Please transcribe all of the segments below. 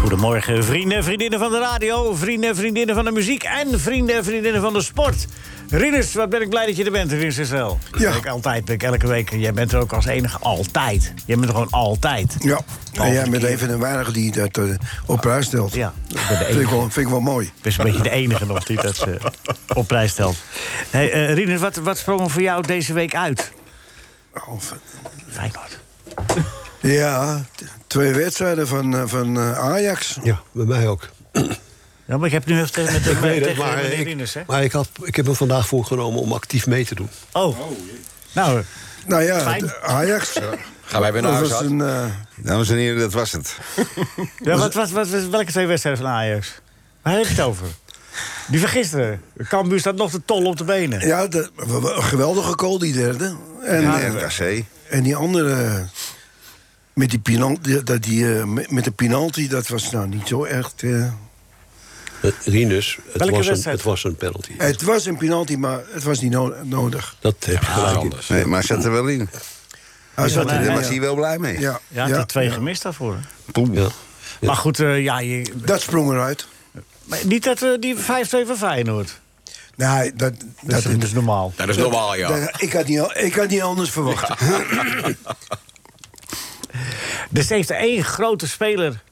Goedemorgen, vrienden en vriendinnen van de radio, vrienden en vriendinnen van de muziek en vrienden en vriendinnen van de sport. Rinus, wat ben ik blij dat je er bent, Rinus Israël. Ja. Ben Ik altijd, ben ik elke week. Jij bent er ook als enige altijd. Jij bent er gewoon altijd. Ja, en jij bent keer. even een weinig die dat eh, op prijs stelt. Ja, ik ben de E vind, ik wel, vind ik wel mooi. Ik ben een beetje de enige nog die dat eh, op prijs stelt. Hey, eh, Rinus, wat, wat sprong er voor jou deze week uit? Of- Feyenoord. Ja, t- twee wedstrijden van, eh, van eh, Ajax. Ja, bij mij ook. Ja, maar ik heb nu nog tegen, met, Ik weet het, tegen maar, meneer Rinus, hè? ik, maar ik, had, ik heb me vandaag voorgenomen om actief mee te doen. Oh, nou, Nou ja, Fijn. d- Ajax. Gaan wij weer naar Dat huis, was Ad? een, eh, Dames en heren, dat was het. ja, Dus- wat, wat, wat, wat- welke twee wedstrijden van Ajax? Waar heb je het over? Die van gisteren. Cambuur staat nog te tol op de benen. ja, de- w- w- een geweldige goal, die derde. En, En eh, RKC. en die andere... Met, die penalty, dat die, eh, met met de penalty, dat was nou niet zo echt... eh, Eh, Rinus, het Welke was, een, wedstrijd? het was een penalty. het was een penalty, maar het was niet no- nodig. Dat heb je gelijk in. Nee, maar zet er wel in. Hij Ja, zat maar- in- Daar ja. was hij wel blij mee. ja, Ja, had ja, er twee ja. gemist daarvoor. hè? Poem. Ja. Ja. Maar goed, eh, ja, je, Dat sprong eruit. maar niet dat eh, die 5-2 van Feyenoord. Nee, Nou, dat, Dat is dus normaal. Dat is normaal, ja. Dat- ik, had niet, al- ik had niet anders verwacht. Dus heeft één grote speler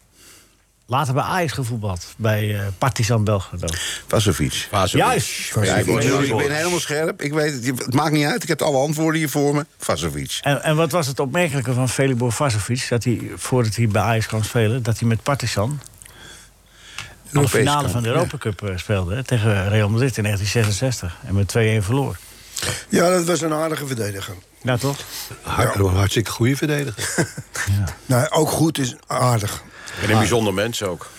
later bij Ajax gevoetbald. Bij eh Partizan Belgrado. Was een fiets. Juist. Ja, ik, moet- Juist. ik ben helemaal scherp. Ik weet het. Je- Het maakt niet uit. Ik heb alle antwoorden hier voor me. Vasovic. En, en wat was het opmerkelijke van Felibor Vasovic... dat hij, voordat hij bij Ajax kwam spelen... dat hij met Partizan de Europees finale kamp, van de Europa Cup eh, speelde... hè, tegen Real Madrid in 1966. En met 2-1 verloor. Ja, dat was een aardige verdediger. Nou toch? Hart- een hartstikke goede verdediger. Nou, ook goed is aardig. En een bijzonder mens ook.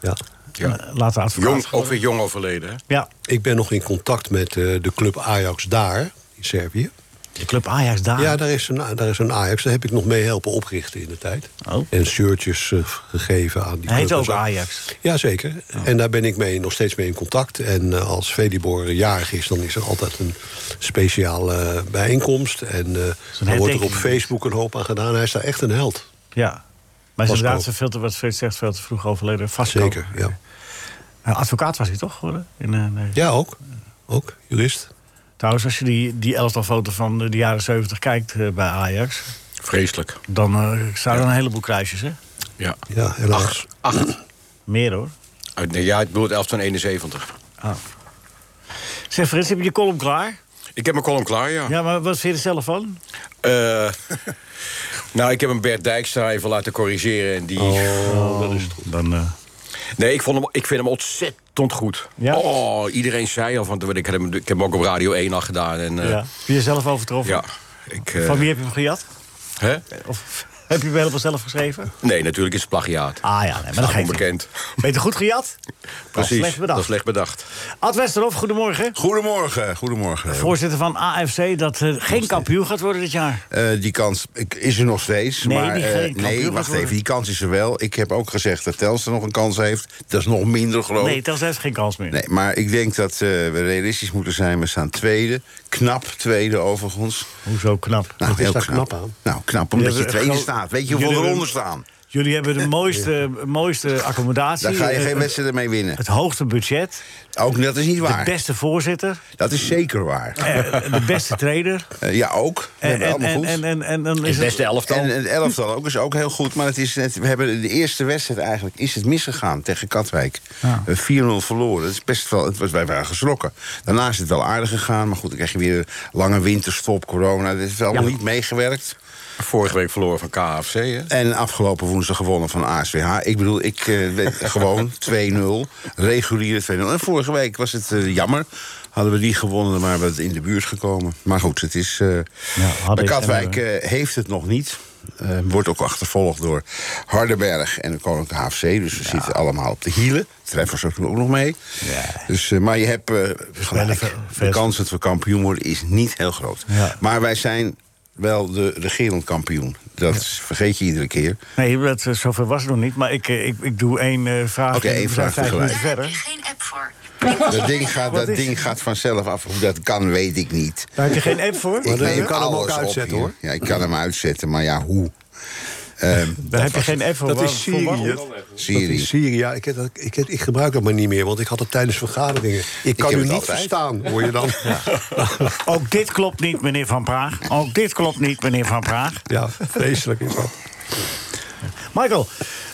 Ja. Eh, Later advocaat. Jong, ook weer jong overleden. Hè? Ja, Ik ben nog in contact met eh, de club Ajax daar, in Servië. de club Ajax daar. Ja, daar is, een, daar is een Ajax. Daar heb ik nog mee helpen oprichten in de tijd. Oh. En shirtjes eh, gegeven aan die Hij heet club en ook zo. Ajax. Jazeker. En daar ben ik mee, nog steeds mee in contact. En eh, als Velibor jarig is, dan is er altijd een speciale eh, bijeenkomst. En eh, dan wordt er op herdenking. Facebook een hoop aan gedaan. Hij is daar echt een held. Ja. Maar hij is Vasco. inderdaad veel te, wat Frits zegt, veel te vroeg overleden. Vasco. Zeker, ja. Eh, advocaat was hij toch geworden? In, eh, nee. Ja, ook. Ook, jurist. Trouwens, als je die, die elftalfoto van eh, de jaren 70 kijkt eh, bij Ajax... Vreselijk. dan eh, staan er een heleboel kruisjes, hè? Ja. Ja, helaas. Acht. Meer, hoor. Uit- nee, Ja, ik bedoel het 11 van 71. Ah. Zeg, Frits, heb je je column klaar? Ik heb mijn column klaar, ja. Ja, maar wat vind je er zelf van? Eh, nou, ik heb een Bert Dijkstra even laten corrigeren. En die... Oh. Dan, eh, Nee, ik, vond hem, ik vind hem ontzettend goed. Ja? Oh, iedereen zei al, van, want ik heb, hem, ik heb hem ook op Radio 1 al gedaan. En, eh, ja. ja. Heb je jezelf overtroffen? Ik, eh, Van wie heb je hem gejat? hè? Of heb je hem helemaal zelf geschreven? Nee, natuurlijk is het plagiaat. Ah ja, nee, maar dat Staat geeft niet. onbekend. Beter goed gejat? dan Precies, slecht bedacht. dat is slecht bedacht. Ad Westerhof, goedemorgen. Goedemorgen. Goedemorgen. Voorzitter van AFC dat eh, geen kampioen gaat worden dit jaar. Eh, die kans ik- is er nog steeds. Nee, maar, die eh, geen kampioen nee gaat wacht worden. even. Die kans is er wel. Ik heb ook gezegd dat Telstra nog een kans heeft. Dat is nog minder, geloof ik. Nee, Telstra heeft geen kans meer. Oh. Nee, maar ik denk dat eh, we realistisch moeten zijn. We staan tweede. Knap tweede, overigens. Hoezo knap? Wat Nou, is heel daar knap aan? Nou, knap omdat Ja, je we- tweede gro- staat. Weet je jullie hoeveel hebben- eronder staan? Jullie hebben de mooiste, mooiste accommodatie. Daar ga je eh, geen het- wedstrijd mee winnen. Het hoogste budget, Ook dat is niet de waar. beste voorzitter, Dat is zeker waar. eh, de beste trainer. Eh, ja, ook. We En, hebben en, allemaal en, en, goed. en, en dan is Het beste het... elftal. En het elftal ook is ook heel goed. Maar het is net, we hebben de eerste wedstrijd eigenlijk is het misgegaan tegen Katwijk. Eh, 4-0 verloren. Dat is best wel, het was, wij waren geschrokken. Daarna is het wel aardig gegaan. Maar goed, dan krijg je weer een lange winterstop, corona. Dit heeft allemaal Ja. niet meegewerkt. Vorige week verloren van KFC, hè? En afgelopen woensdag gewonnen van ASWH. Ik bedoel, ik eh, weet- gewoon 2-0. Reguliere 2-0. En vorige week was het eh, jammer. Hadden we die gewonnen, maar we het in de buurt gekomen. Maar goed, het is. eh bij ik- Katwijk eh, heeft het nog niet. Eh, wordt ook achtervolgd door Hardenberg en de Koninklijke HFC. Dus we zitten allemaal op de hielen. Treffers ook nog mee. Dus, eh, maar je hebt eh, gelijk. ver- De vers. kans dat we kampioen worden is niet heel groot. Ja. Maar wij zijn wel de regerend kampioen. Dat vergeet je iedere keer. Nee, dat, eh, zover was het nog niet. Maar ik, eh, ik, ik doe één eh, vraag. Oké, en één we zijn vraag vijf tegelijk. minuten verder. geen app voor. Dat ding gaat, Wat dat is- ding gaat vanzelf af. Hoe dat kan, weet ik niet. Daar heb je geen app voor? Ik dat- je neem kan hem ook alles op uitzetten, hier. hoor. Ja, ik kan hem uitzetten, maar ja, hoe? Daar heb je geen app voor. Dat Waar- is voor waarom? Syrië. Siri. Dat is Syrië, ja. Ik, heb dat- ik, heb- ik gebruik dat maar niet meer, want ik had het tijdens vergaderingen. Ik kan heb u het niet altijd. verstaan, hoor je dan? Ja, Ook dit klopt niet, meneer Van Praag. Ook dit klopt niet, meneer Van Praag. vreselijk is dat. Michael,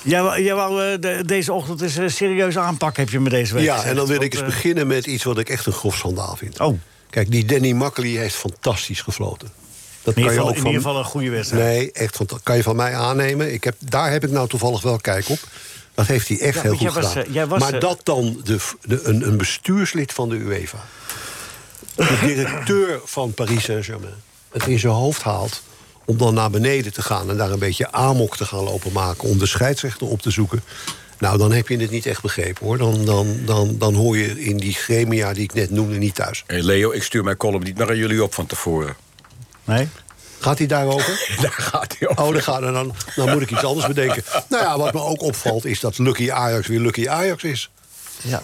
jij, wou- jij wou eh, de- deze ochtend eens eh, serieus aanpakken, heb je me deze week Ja, gezegd. en dan wil Want, ik eens eh, beginnen met iets wat ik echt een grofschandaal vind. Oh. Kijk, die Danny Makkely heeft fantastisch gefloten. Dat In ieder, kan je geval, ook in van- ieder geval een goede wedstrijd. Nee, echt, want dat kan je van mij aannemen. Ik heb, daar heb ik nou toevallig wel kijk op. Dat heeft hij echt Ja, heel want goed jij was, gedaan. eh, jij was, maar eh, dat dan de, f- de, een, een bestuurslid van de UEFA. De directeur van Paris Saint-Germain. Het in zijn hoofd haalt om dan naar beneden te gaan... en daar een beetje amok te gaan lopen maken... om de scheidsrechter op te zoeken. Nou, dan heb je het niet echt begrepen, hoor. Dan, dan, dan, dan hoor je in die gremia die ik net noemde niet thuis. Hey Leo, ik stuur mijn column niet meer aan jullie op van tevoren. Nee? Gaat hij daarover? Daar gaat hij over. Oh, dan, gaan, dan, dan moet ik iets anders bedenken. Nou ja, wat me ook opvalt is dat Lucky Ajax weer Lucky Ajax is. Ja.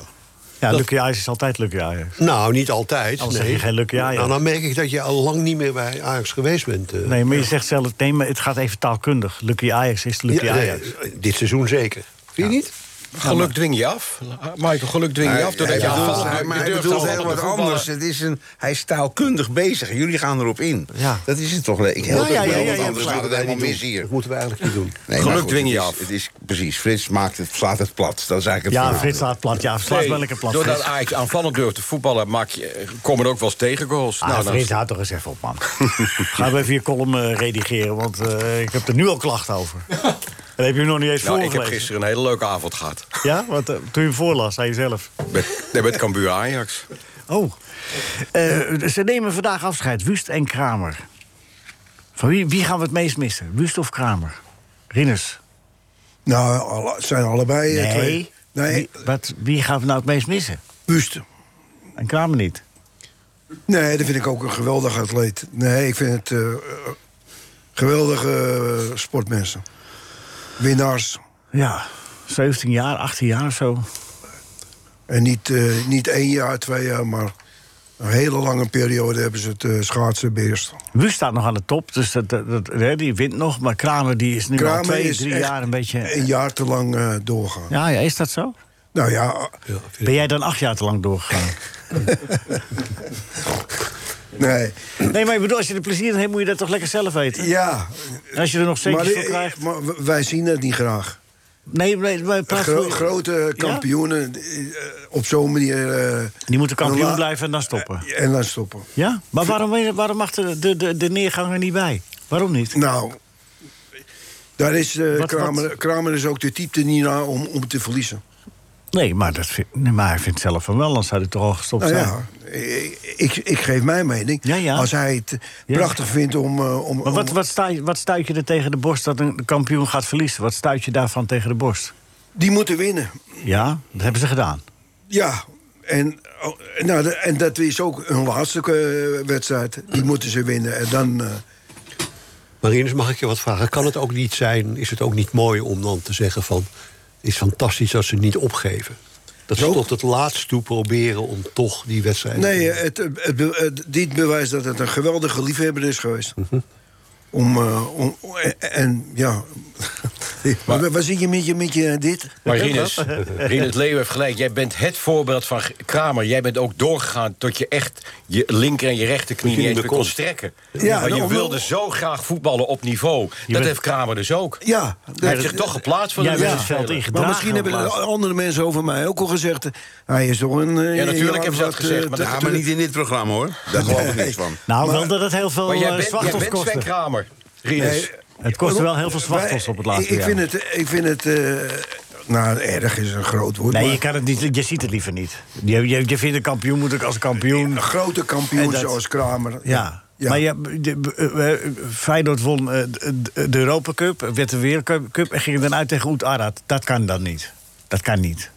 Ja, Lucky Ajax is altijd Lucky Ajax. Nou, niet altijd. Anders nee. zeg je geen Lucky Ajax. Nou, dan merk ik dat je al lang niet meer bij Ajax geweest bent. eh. Nee, maar je zegt zelf, nee, maar het gaat even taalkundig. Lucky Ajax is Lucky Ja, nee, Ajax. dit seizoen zeker. Vind je niet? Geluk dwing je af. Michael, geluk dwing je af. Hij Doordat je bedoelt- aanvallend hij- bent. maar Je hij durft bedoelt heel aanvallend wat te voetballen. anders. Het is een, hij is taalkundig bezig. Jullie gaan erop in. Ja. Dat is het toch? Ik help Ja, ja, het wel, ja, ja, want ja, anders dat wordt het helemaal mis hier. Dat moeten we eigenlijk niet doen. Nee, Geluk maar goed, dwing je het is- af. Het is precies. Frits maakt het, slaat het plat. Dat is eigenlijk het Ja, verhaal. Frits slaat plat. Ja, slaat Nee, wel lekker plat. Doordat Frits. Ajax aanvallend durft te voetballen, maak je, komen er ook wel eens tegengoals. Ah, Nou, dan- Frits, houd toch eens even op, man. Ga even je column eh, redigeren, want eh, ik heb er nu al klachten over. Dat heb je nog niet eens nou, ik voorgelezen. heb gisteren een hele leuke avond gehad. Ja, want eh, toen je hem voorlas, zei je zelf. Met, nee, met Cambuur Ajax. Oh. Eh, ze nemen vandaag afscheid, Wust en Kramer. Van wie, wie gaan we het meest missen? Wust of Kramer? Rinus? Nou, alle- zijn allebei eh, Nee. twee. Nee, Wie, wat, wie gaan we nou het meest missen? Wust. En Kramer niet. Nee, dat vind ik ook een geweldig atleet. Nee, ik vind het eh, eh, geweldige eh, sportmensen. Winnaars. Ja, 17 jaar, 18 jaar of zo. En niet, eh, niet één jaar, twee jaar, maar een hele lange periode hebben ze het eh, schaatsen beheerst. Wust staat nog aan de top, dus dat, dat, dat- hè, die wint nog. Maar Kramer die is nu al twee, drie echt jaar een beetje... een jaar te lang eh, doorgaan. Ja, ja, is dat zo? Nou ja, Ja, vind ik- Ben jij dan acht jaar te lang doorgegaan? nee. nee, maar ik bedoel, als je er plezier in hebt, moet je dat toch lekker zelf weten? Ja, En als je er nog maar, zeker voor eh, krijgt... maar w- wij zien het niet graag. Nee, nee, maar praat Gro- goed. grote kampioenen eh, op zo'n manier... eh, Die moeten kampioen la- Eh, blijven en dan stoppen. En dan stoppen. Ja? Maar waarom, waarom mag de, de, de, de neergang er niet bij? Waarom niet? Nou, daar is eh, Wat- Kramer, wat- Kramer is ook de type niet naar om, om te verliezen. Nee, maar, dat vind, nee, maar hij vindt zelf van wel, anders zou hij toch al gestopt Nou zijn. ja, ik, ik, ik geef mijn mening. Ja, ja. Als hij het Ja. prachtig vindt om... eh, om Maar wat, om- wat, sta, je- wat stuit je er tegen de borst dat een kampioen gaat verliezen? Wat stuit je daarvan tegen de borst? Die moeten winnen. Ja, dat hebben ze gedaan. Ja. En, oh, nou, de- en dat is ook hun laatste eh, wedstrijd. Die moeten ze winnen. En dan... eh, Marinus, mag ik je wat vragen? Kan het ook niet zijn, is het ook niet mooi om dan te zeggen van... het is fantastisch dat ze niet opgeven? Dat ze Zo. tot het laatst toe proberen om toch die wedstrijd... te nee, winnen. eh, het, het be- het- dit bewijst dat het een geweldige liefhebber is geweest. Mhm. Om, eh, om, en, en ja... Maar, waar zit je met je, met je dit? Maar Rinus, Rinus Leeuw heeft gelijk. Jij bent het voorbeeld van Kramer. Jij bent ook doorgegaan tot je echt je linker en je rechterknie je niet niet eens meer kon meer kon. strekken. Ja, maar je nou, wilde wel- zo graag voetballen op niveau. Dat bent- heeft Kramer dus ook. Ja, Hij heeft dat- zich toch geplaatst voor de Jij bent het wedstrijd. veld ingedragen. Maar misschien hebben op er laatst. andere mensen over mij ook al gezegd. eh, Hij is toch een. eh, Ja, natuurlijk jaar hebben ze dat wat, gezegd, eh, maar te- dat- Ja, te- maar niet in dit programma, hoor. Daar geloof ik niks van. Nou, wel dat het heel veel Maar jij eh, bent, jij slachtoffers bent Sven kostte. Kramer, Rinus. Nee, Het kostte wel heel veel Wij- slachtoffers op het laatste Ik jaar. vind het. Ik vind het eh, nou, erg is een groot woord. Nee, maar je, kan het niet, je ziet het liever niet. Je, je, je vindt een kampioen moet ik als kampioen. Een grote En kampioen dat- zoals Kramer. Ja. Maar ja, de, eh, eh, Feyenoord won eh, de de Europa Cup, werd de Wereldcup Cup en ging dan uit tegen Oet Arad. Dat kan dan niet. Dat kan niet.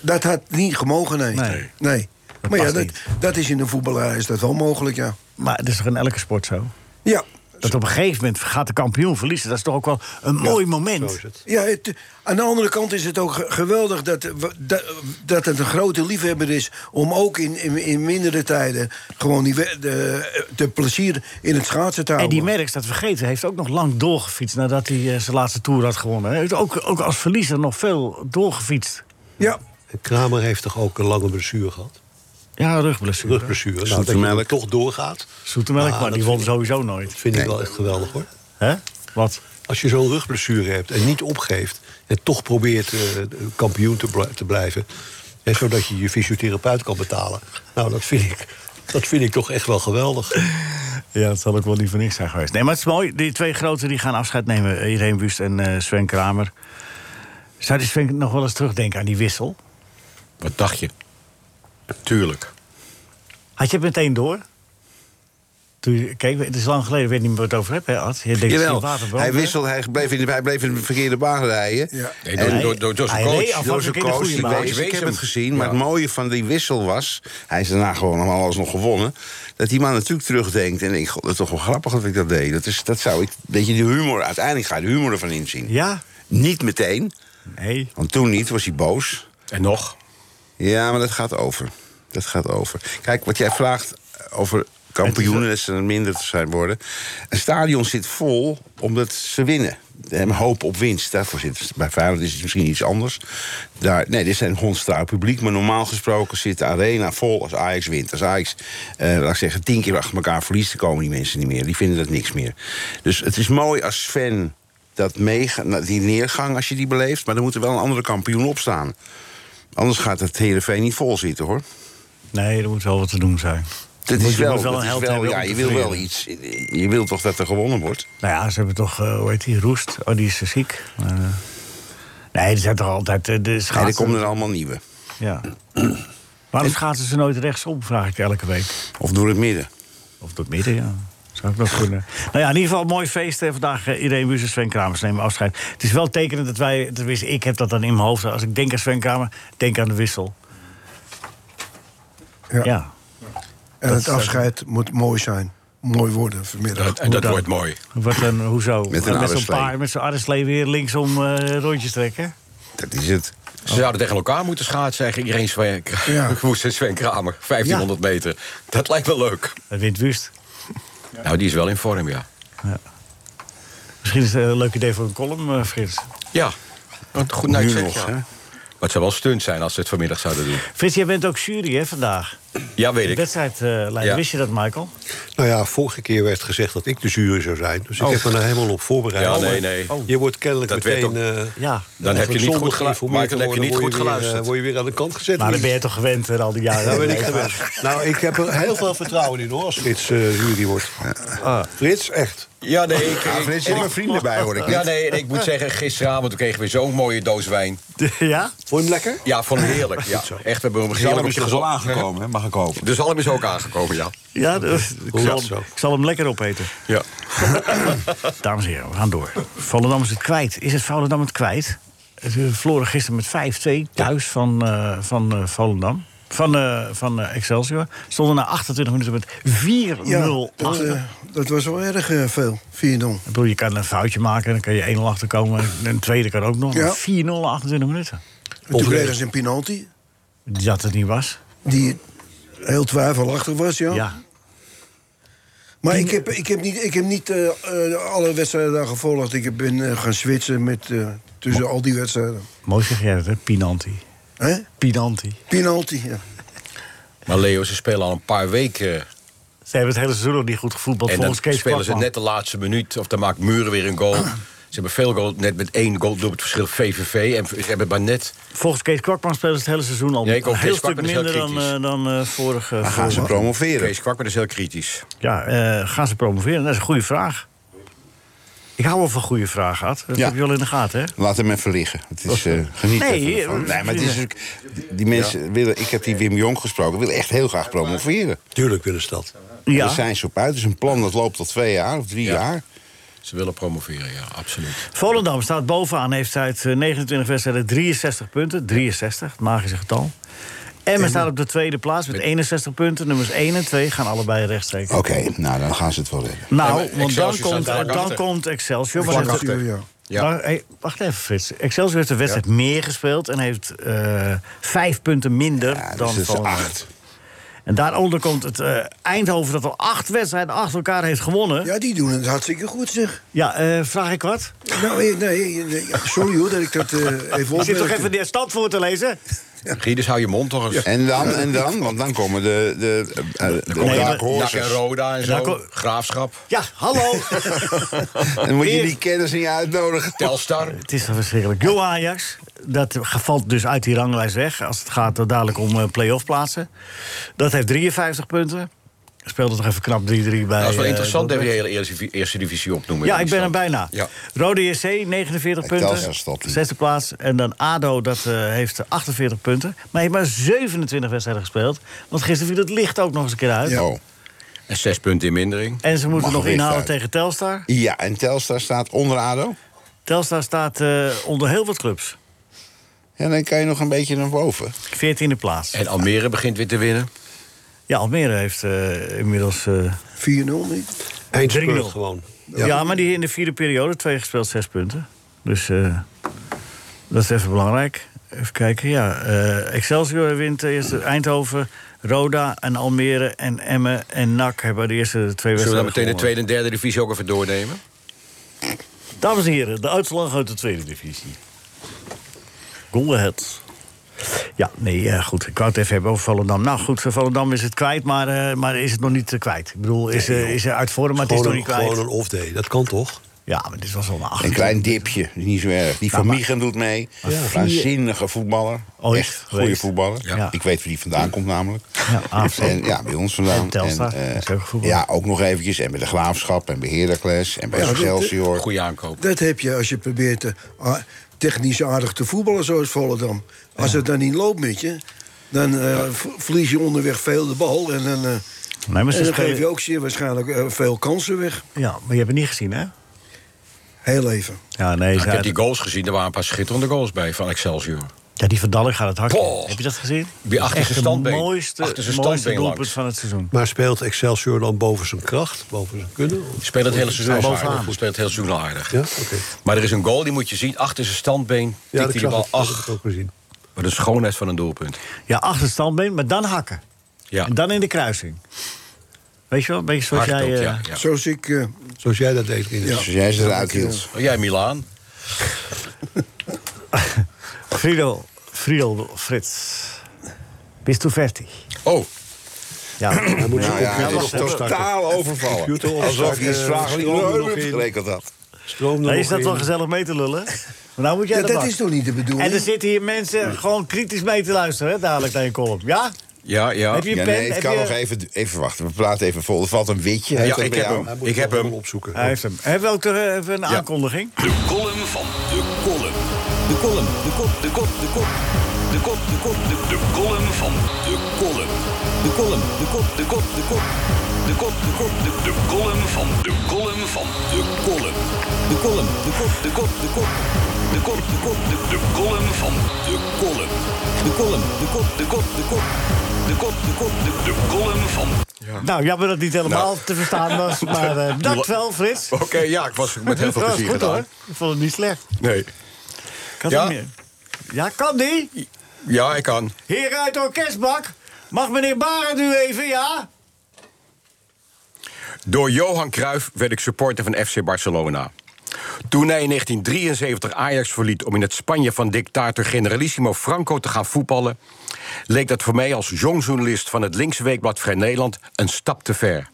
Dat had niet gemogen, nee. Nee. Nee. Maar ja, past dat, niet. dat is in de voetballerij is dat wel mogelijk, ja. Maar het is toch in elke sport zo? Ja, Dat op een gegeven moment gaat de kampioen verliezen. Dat is toch ook wel een mooi moment. Zo is het. Ja, het- aan de andere kant is het ook ge- geweldig dat, we- dat, dat het een grote liefhebber is om ook in, in, in mindere tijden gewoon die, we- de, de plezier in het schaatsen te En houden. die Merckx, dat vergeten, heeft ook nog lang doorgefietst nadat hij eh, zijn laatste tour had gewonnen. Hij heeft ook, ook als verliezer nog veel doorgefietst. ja, En Kramer heeft toch ook een lange blessure gehad? Ja, rugblessure. Rugblessure. Nou, dat je Zoetemelk. dan toch doorgaat. Zoetemelk, Ah, maar die dat won vind ik- sowieso nooit. Dat vind ik wel echt geweldig hoor. Hè? Wat? Als je zo'n rugblessure hebt en niet opgeeft... en toch probeert eh, kampioen te, bl- te blijven... En zodat je je fysiotherapeut kan betalen. Nou, dat vind ik, dat vind ik toch echt wel geweldig. Ja, dat zal ook wel niet voor niks zijn geweest. Nee, maar het is mooi. Die twee groten die gaan afscheid nemen. Irene Wust en eh, Sven Kramer. Zou die Sven nog wel eens terugdenken aan die wissel? Wat dacht je? Tuurlijk. Had je het meteen door? Toen je- kijk, het is lang geleden. Ik weet niet meer wat het over hebt, hè, Ad? Je denkt, Jawel, het is een hij waterbrand, hè? wisselde, hij bleef, in de, hij bleef in de verkeerde baan rijden. Ja. Nee, door, Hij- door, door, door zijn hij reed coach. af- Door was zijn ook in de coach, goede ik, baan. weet, Wees ik heb hem. het gezien. Maar Ja. het mooie van die wissel was... hij is daarna gewoon nog alles nog gewonnen... dat die man natuurlijk terugdenkt en denkt... God, dat is toch wel grappig dat ik dat deed. Dat, is, dat zou ik... Weet je, de humor... Uiteindelijk ga je de humor ervan inzien. Ja? Niet meteen, Nee. want toen niet, was hij boos. En nog? Ja, maar dat gaat over. Dat gaat over. Kijk, wat jij vraagt over kampioenen... dat ze er minder te zijn worden. Een stadion zit vol omdat ze winnen. En hoop op winst. Daarvoor zit het. Bij Feyenoord is het misschien iets anders. Daar, nee, dit zijn hondstrouw publiek. Maar normaal gesproken zit de arena vol als Ajax wint. Als Ajax, eh, laat ik zeggen, tien keer achter elkaar verliest... dan komen die mensen niet meer. Die vinden dat niks meer. Dus het is mooi als Sven dat meega- nou, die neergang, als je die beleeft... maar dan moet er wel een andere kampioen opstaan. Anders gaat het Heerenveen niet vol zitten, hoor. Nee, er moet wel wat te doen zijn. Dat Je is moet- je wel, moet wel dat een is held wel- hebben ja, om je te wil wel verliezen. iets. Je wil toch dat er gewonnen wordt? Nou ja, ze hebben toch, eh, hoe heet die, Roest? Oh, die is eh, ziek. Maar, eh, nee, die zijn toch altijd eh, de En er schaatsen. komen er allemaal nieuwe. Ja. Waarom schaatsen ze nooit rechtsom, vraag ik elke week. Of door het midden. Of door het midden, ja. Zou ik nog kunnen. Nou ja, in ieder geval een mooi feest. hè. Vandaag eh, Irene Buus en Sven Kramers nemen afscheid. Het is wel tekenend dat wij... Tenminste, ik heb dat dan in mijn hoofd. Als ik denk aan Sven Kramer, denk aan de wissel. ja. Ja. en het afscheid moet mooi zijn. Mooi worden vanmiddag. Dat, en dat dan? wordt mooi. Wat een, hoezo? Met een zo'n arreslee. paar, met zo'n arreslee weer linksom eh, rondjes trekken? Dat is het. Ze zouden tegen elkaar moeten schaatsen. eigenlijk. Iedereen Sven, Ja. Woest en Sven Kramer. 1500 meter. Dat lijkt wel leuk. Dat Eh, wint Wust. Nou, die is wel in vorm, ja. Misschien is het een leuk idee voor een column, eh, Frits. Ja. Want goed, nou, ik Nu zeg, nog, ja. hè? Maar het zou wel stunt zijn als ze het vanmiddag zouden doen. Frits, jij bent ook jury hè, vandaag. Ja, weet De ik. wedstrijd eh, leider. Ja. Wist je dat, Michael? Nou ja, vorige keer werd gezegd dat ik de jury zou zijn. Dus ik heb me daar helemaal op voorbereid. Oh. Ja, nee, Maar nee. Je wordt kennelijk Dat werd meteen... ook- eh, Ja. Dan eigenlijk heb je niet zonder goed gelu- geïnformeerd Michael, te heb je worden, niet word goed weer, eh, geluisterd. word je weer aan de kant gezet. Dus- Maar dan ben Niet- je toch gewend hè, al die jaren. Daar ben ik gewend. Nou, ik heb er heel veel vertrouwen in hoor, als Frits eh, jury wordt. Ah. Frits, echt. Ja, nee, ik... Ah, ik- Frits, je ik- hebt vrienden bij, hoor ik. ja, nee, en ik moet zeggen, gisteravond we kregen we zo'n mooie doos wijn. Ja? Vond je hem lekker? Ja, vond ik heerlijk. Ja. Echt, we hebben hem gezellig op de- aangekomen, mag ik hopen. De zalm is ook aangekomen, ja. Ja, dus ik, Hoe zal, dat zo? ik zal hem lekker opeten. ja. Dames en heren, we gaan door. Volendam is het kwijt. Is het Volendam het kwijt? Ze verloren gisteren met 5-2 thuis van, eh, van eh, Volendam. Van, eh, van eh, Excelsior. Stonden na 28 minuten met 4-0 Ja, dat, achter. eh, dat was wel erg eh, veel, 4-0. Ik bedoel, je kan een foutje maken, dan kan je 1-0 achterkomen. En een tweede kan ook nog. Ja. 4-0 na 28 minuten. En Toen kregen ze een penalty, Dat het niet was. die heel twijfelachtig was, ja. Ja. Maar ik heb, ik heb niet, ik heb niet eh, eh, alle wedstrijden daar gevolgd. Ik ben eh, gaan switchen met, eh, tussen al die wedstrijden. Mooi zeg jij dat, hè? Pinanti. Hè? Pinanti. Penalty, ja. Maar Leo, ze spelen al een paar weken. Ze hebben het hele seizoen nog niet goed gevoetbald. en dan volgens Kees spelen ze Kwakman. net de laatste minuut. Of dan maakt Muren weer een goal. Ze hebben veel goal, net met één goal door het verschil VVV. En ze hebben maar net... Volgens Kees Kwakman spelen ze het hele seizoen al Ja, ik ook. een heel Kees stuk Kwakman is heel minder dan, kritisch. eh, dan eh, vorig eh, Dan gaan ze vorig- promoveren. Kees Kwakman is heel kritisch. Ja, eh, gaan ze promoveren? Dat is een goede vraag. Ik hou wel van goede vragen, Ad. Dat Ja. heb je wel in de gaten, hè? Laat hem even liggen. Het is, eh geniet Nee, even ervan. eh, Nee, maar het is ook, die mensen willen... Ik heb die Wim Jong gesproken. willen echt heel graag promoveren. Tuurlijk willen ze dat. Ja. Daar zijn ze op uit. Het is een plan dat loopt tot twee jaar of drie Ja. jaar. Ze willen promoveren, ja, absoluut. Volendam staat bovenaan, heeft uit eh, 29 wedstrijden 63 punten. 63, het magische getal. Emmen staat op de tweede plaats met 61 punten. Nummers 1 en 2 gaan allebei rechtstreeks. Oké, nou dan gaan ze het wel redden. Nou, Oh. Emmen, want dan Excelsior komt, staat vlak dan achter. komt Excelsior. Vlak Maar dat- achter. Ja. Ja. Maar, hey, wacht even, Frits. Excelsior heeft de wedstrijd meer gespeeld en heeft eh, vijf punten minder Ja, dan dus het is Volendam. acht. En daaronder komt het eh, Eindhoven dat al acht wedstrijden achter elkaar heeft gewonnen. Ja, Ja, die doen het hartstikke goed, zeg. eh, vraag ik wat? Nou, eh, nee, nee, ja, sorry hoor dat ik dat eh, even Ik opmerk. zit toch even de stand voor te lezen? Guy, dus hou je mond toch eens. En dan, en dan, want dan komen de, de, eh, eh, de, maar- Dark Dak Horses. en Roda en Daar zo. ko- Graafschap. Ja, hallo. En dan moet je Weer. die kennis niet uitnodigen. Telstar. het is toch verschrikkelijk. Go Ajax, dat valt dus uit die ranglijst weg... als het gaat eh, dadelijk om eh, play-off plaatsen. Dat heeft 53 punten. Speelde toch even knap 3-3 bij... Dat is wel eh, interessant dat we de Dordrecht. hele eerste, eerste divisie opnoemen. Ja, in ik die ben er stand. bijna. Ja. Rode JC, 49 Kijk, punten. Telstar stopt niet. Zesde plaats. En dan ADO, dat eh, heeft 48 punten. Maar hij heeft maar 27 wedstrijden gespeeld. Want gisteren viel het licht ook nog eens een keer uit. Oh. En zes punten in mindering. En ze moeten Mag nog weer inhalen uit. tegen Telstar. Ja, en Telstar staat onder ADO. Telstar staat eh, onder heel wat clubs. En dan kan je nog een beetje naar boven. 14e plaats. En Almere begint weer te winnen. Ja, Almere heeft eh, inmiddels... eh, 4-0 niet. 3-0. Eindspurt gewoon. ja. maar die in de vierde periode, twee gespeeld, zes punten. Dus eh, dat is even belangrijk. Even kijken, ja. eh, Excelsior wint eerst Eindhoven, Roda en Almere en Emmen en NAC hebben de eerste twee Zullen we dan wedstrijden meteen de gewonnen. tweede en derde divisie ook even doornemen? Dames en heren, de uitslag uit de tweede divisie. Go ahead. Ja, nee, eh, goed. Ik wou het even hebben over Volendam. Nou goed, Volendam is het kwijt, maar, eh, maar is het nog niet eh, kwijt. Ik bedoel, is, eh, is er uit vorm, maar het is nog Gewoon niet een, kwijt. gewoon een off-day, dat kan toch? Ja, maar dit was al een acht. Een klein dipje, niet zo erg. Die van Nou, maar- Miegen doet mee. Waanzinnige voetballer. Ooit Echt goede geweest. voetballer. Ja. Ik weet waar die vandaan komt namelijk. Ja, AFC. en, ja bij ons vandaan. En Telstar, eh, dat is ook een voetballer. ja, ook nog eventjes. En bij de Graafschap en bij Heracles en bij Ja, dat- Excelsior. Goede aankoop. Dat heb je als je probeert te, a- technisch aardig te voetballen zoals Volendam. Als het dan niet loopt met je, dan eh, v- verlies je onderweg veel de bal. En dan, eh, Nee, maar ze en dan spelen- geef je ook zeer waarschijnlijk eh, veel kansen weg. Ja, maar je hebt het niet gezien, hè? Heel even. Ja, nee. Ik ze- heb die goals gezien, er waren een paar schitterende goals bij van Excelsior. Ja, die Van Dalen gaat het hard. Poh. Heb je dat gezien? Die achter Echt zijn standbeen. Het mooiste, Achter zijn mooiste standbeen doelpunt langs. van het seizoen. Maar speelt Excelsior dan boven zijn kracht, boven zijn kunnen? Speelt het hele seizoen al Bovenaan. aardig. Speelt het hele seizoen al aardig. Ja, oké. Maar er is een goal, die moet je zien. Achter zijn standbeen Ja, tikt dat hij de bal. ik, dat heb Ach, ik ook gezien. wat een schoonheid van een doelpunt. Ja, achter het standbeen, maar dan hakken. Ja, En dan in de kruising. Weet je wel, een beetje zoals hard jij... ook, eh, ja, ja. Zoals ik... eh, Zoals jij dat deed, Rinus. Zoals jij ze eruit hield. Oh, Jij Milaan. Friedel, Friedel, Frits. Bist u fertig? Oh, Ja, Hij moet zijn Nou computer ja, hij nog is opstarten. totaal Computer overvallen. Alsof opstarten, je eh, eens vraagt, stroom er nog hoe in. betekent dat? Stroom er Nou, nog is dat wel in. gezellig mee te lullen? Maar nou moet jij ja, de dat bak. is toch niet de bedoeling? En dus- er zitten hier mensen gewoon kritisch mee te luisteren, hè, dadelijk naar je column. Ja? ja, ja. Heb je Ja, pen? nee, het Heb kan je- nog even, even wachten. We praten even vol. Er valt een witje. Heeft Ja, dat ik bij heb jou? hem. Hij moet Ik heb het wel hem. opzoeken. Hij heeft hem. Hebben we ook toch even een aankondiging? De column van de column. De column, de kop, de kop, de kop. De kop, de kop, de De column van de column. De column, de kop, de kop, de kop. De kop, de kop, de De column van de column van de column. De column, de kop, de kop, de kop. De kop, de kop, de De column van de column. De column, de kop, de kop, de kop. De kop, de kop, de De column van Nou, jammer dat het niet helemaal te verstaan was. Maar eh dank wel, Frits. Oké, ja, ik was met heel veel Ja, plezier goed, gedaan. hoor. Ik vond het niet slecht. Nee. Ik had Ja? hem meer. ja, kan die? Ja, ik kan. Hier uit de orkestbak. Mag meneer Barend u even, ja? Door Johan Cruijff werd ik supporter van FC Barcelona. Toen hij in 1973 Ajax verliet om in het Spanje van dictator Generalissimo Franco te gaan voetballen, leek dat voor mij als jong journalist van het linkse weekblad Vrij Nederland een stap te ver.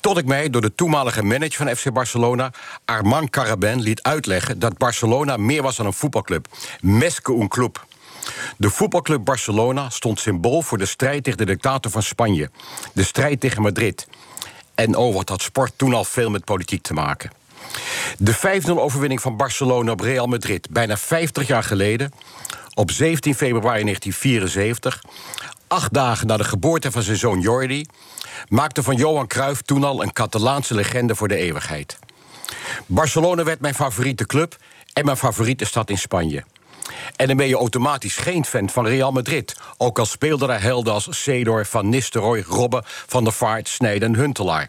Tot ik mij door de toenmalige manager van FC Barcelona, Armand Carabin, liet uitleggen dat Barcelona meer was dan een voetbalclub. Mesque un club. De voetbalclub Barcelona stond symbool voor de strijd tegen de dictator van Spanje. De strijd tegen Madrid. En oh, wat had sport toen al veel met politiek te maken. De 5-0-overwinning van Barcelona op Real Madrid, bijna 50 jaar geleden, op 17 februari 1974, acht dagen na de geboorte van zijn zoon Jordi, maakte van Johan Cruijff toen al een Catalaanse legende voor de eeuwigheid. Barcelona werd mijn favoriete club en mijn favoriete stad in Spanje. En dan ben je automatisch geen fan van Real Madrid. Ook al speelden er helden als Cedor, Van Nistelrooy, Robben, Van der Vaart, Snijden en Huntelaar.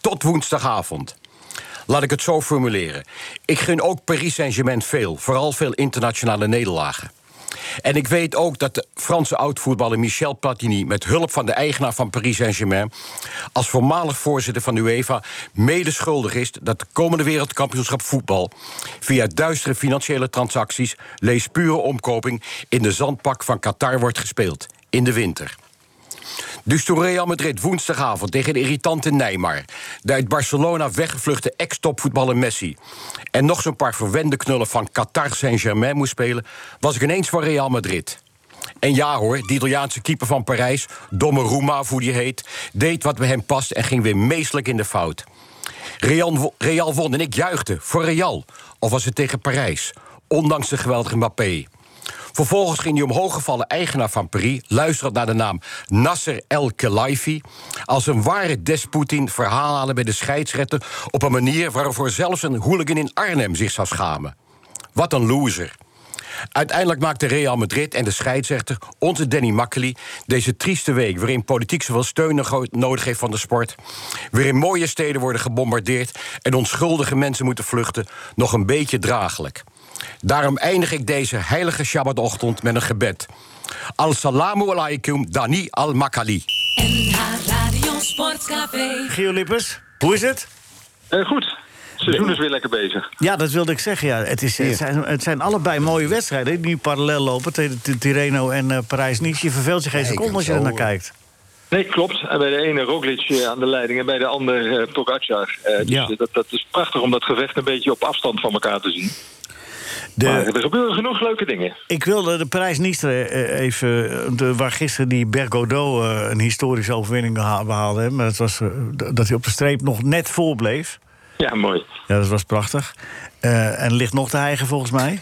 Tot woensdagavond. Laat ik het zo formuleren. Ik gun ook Paris Saint-Germain veel, vooral veel internationale nederlagen. En ik weet ook dat de Franse oud-voetballer Michel Platini... met hulp van de eigenaar van Paris Saint-Germain... als voormalig voorzitter van de UEFA medeschuldig is... dat de komende wereldkampioenschap voetbal... via duistere financiële transacties, lees pure omkoping... in de zandpak van Qatar wordt gespeeld, in de winter. Dus toen Real Madrid woensdagavond tegen de irritante Neymar... de uit Barcelona weggevluchte ex-topvoetballer Messi... en nog zo'n paar verwende knullen van Qatar Saint-Germain moest spelen... was ik ineens van Real Madrid. En ja hoor, die Italiaanse keeper van Parijs, Donnarumma of hoe die heet... deed wat bij hem past en ging weer meestelijk in de fout. Real, wo- Real won en ik juichte voor Real. Of was het tegen Parijs, ondanks de geweldige Mbappé... Vervolgens ging die omhooggevallen eigenaar van Paris luisterend naar de naam Nasser El Khelaifi. Als een ware despotin verhaal halen bij de scheidsrechter. op een manier waarvoor zelfs een hooligan in Arnhem zich zou schamen. Wat een loser. Uiteindelijk maakte Real Madrid en de scheidsrechter, onze Danny Makkely, deze trieste week, waarin politiek zoveel steun nog nodig heeft van de sport, waarin mooie steden worden gebombardeerd en onschuldige mensen moeten vluchten, nog een beetje draaglijk. Daarom eindig ik deze heilige Shabbatochtend met een gebed. Al-salamu alaikum Dani al-Makali. NH Radio Sportcafé. Gio Lippers, hoe is het? Eh, goed. Het seizoen is weer lekker bezig. Ja, dat wilde ik zeggen. Ja. Het, is, het, zijn, het zijn allebei mooie wedstrijden die nu parallel lopen. tegen T- Tireno en eh, Parijs-Nice. Je verveelt je geen seconde als je er naar kijkt. Nee, klopt. En bij de ene Roglic eh, aan de leiding en bij de ander eh Pogacar. Eh, dus, Ja. eh, dat, dat is prachtig om dat gevecht een beetje op afstand van elkaar te zien. Maar De, er gebeuren genoeg leuke dingen. ik wilde de Parijs-Nice eh, even... eh, De, waar gisteren die Bergodeau eh, een historische overwinning beha- behaalde. hè. Maar het was, eh, d- dat hij op de streep nog net voor bleef. Ja, mooi. Ja, dat was prachtig. Eh, en ligt nog te hijgen volgens mij.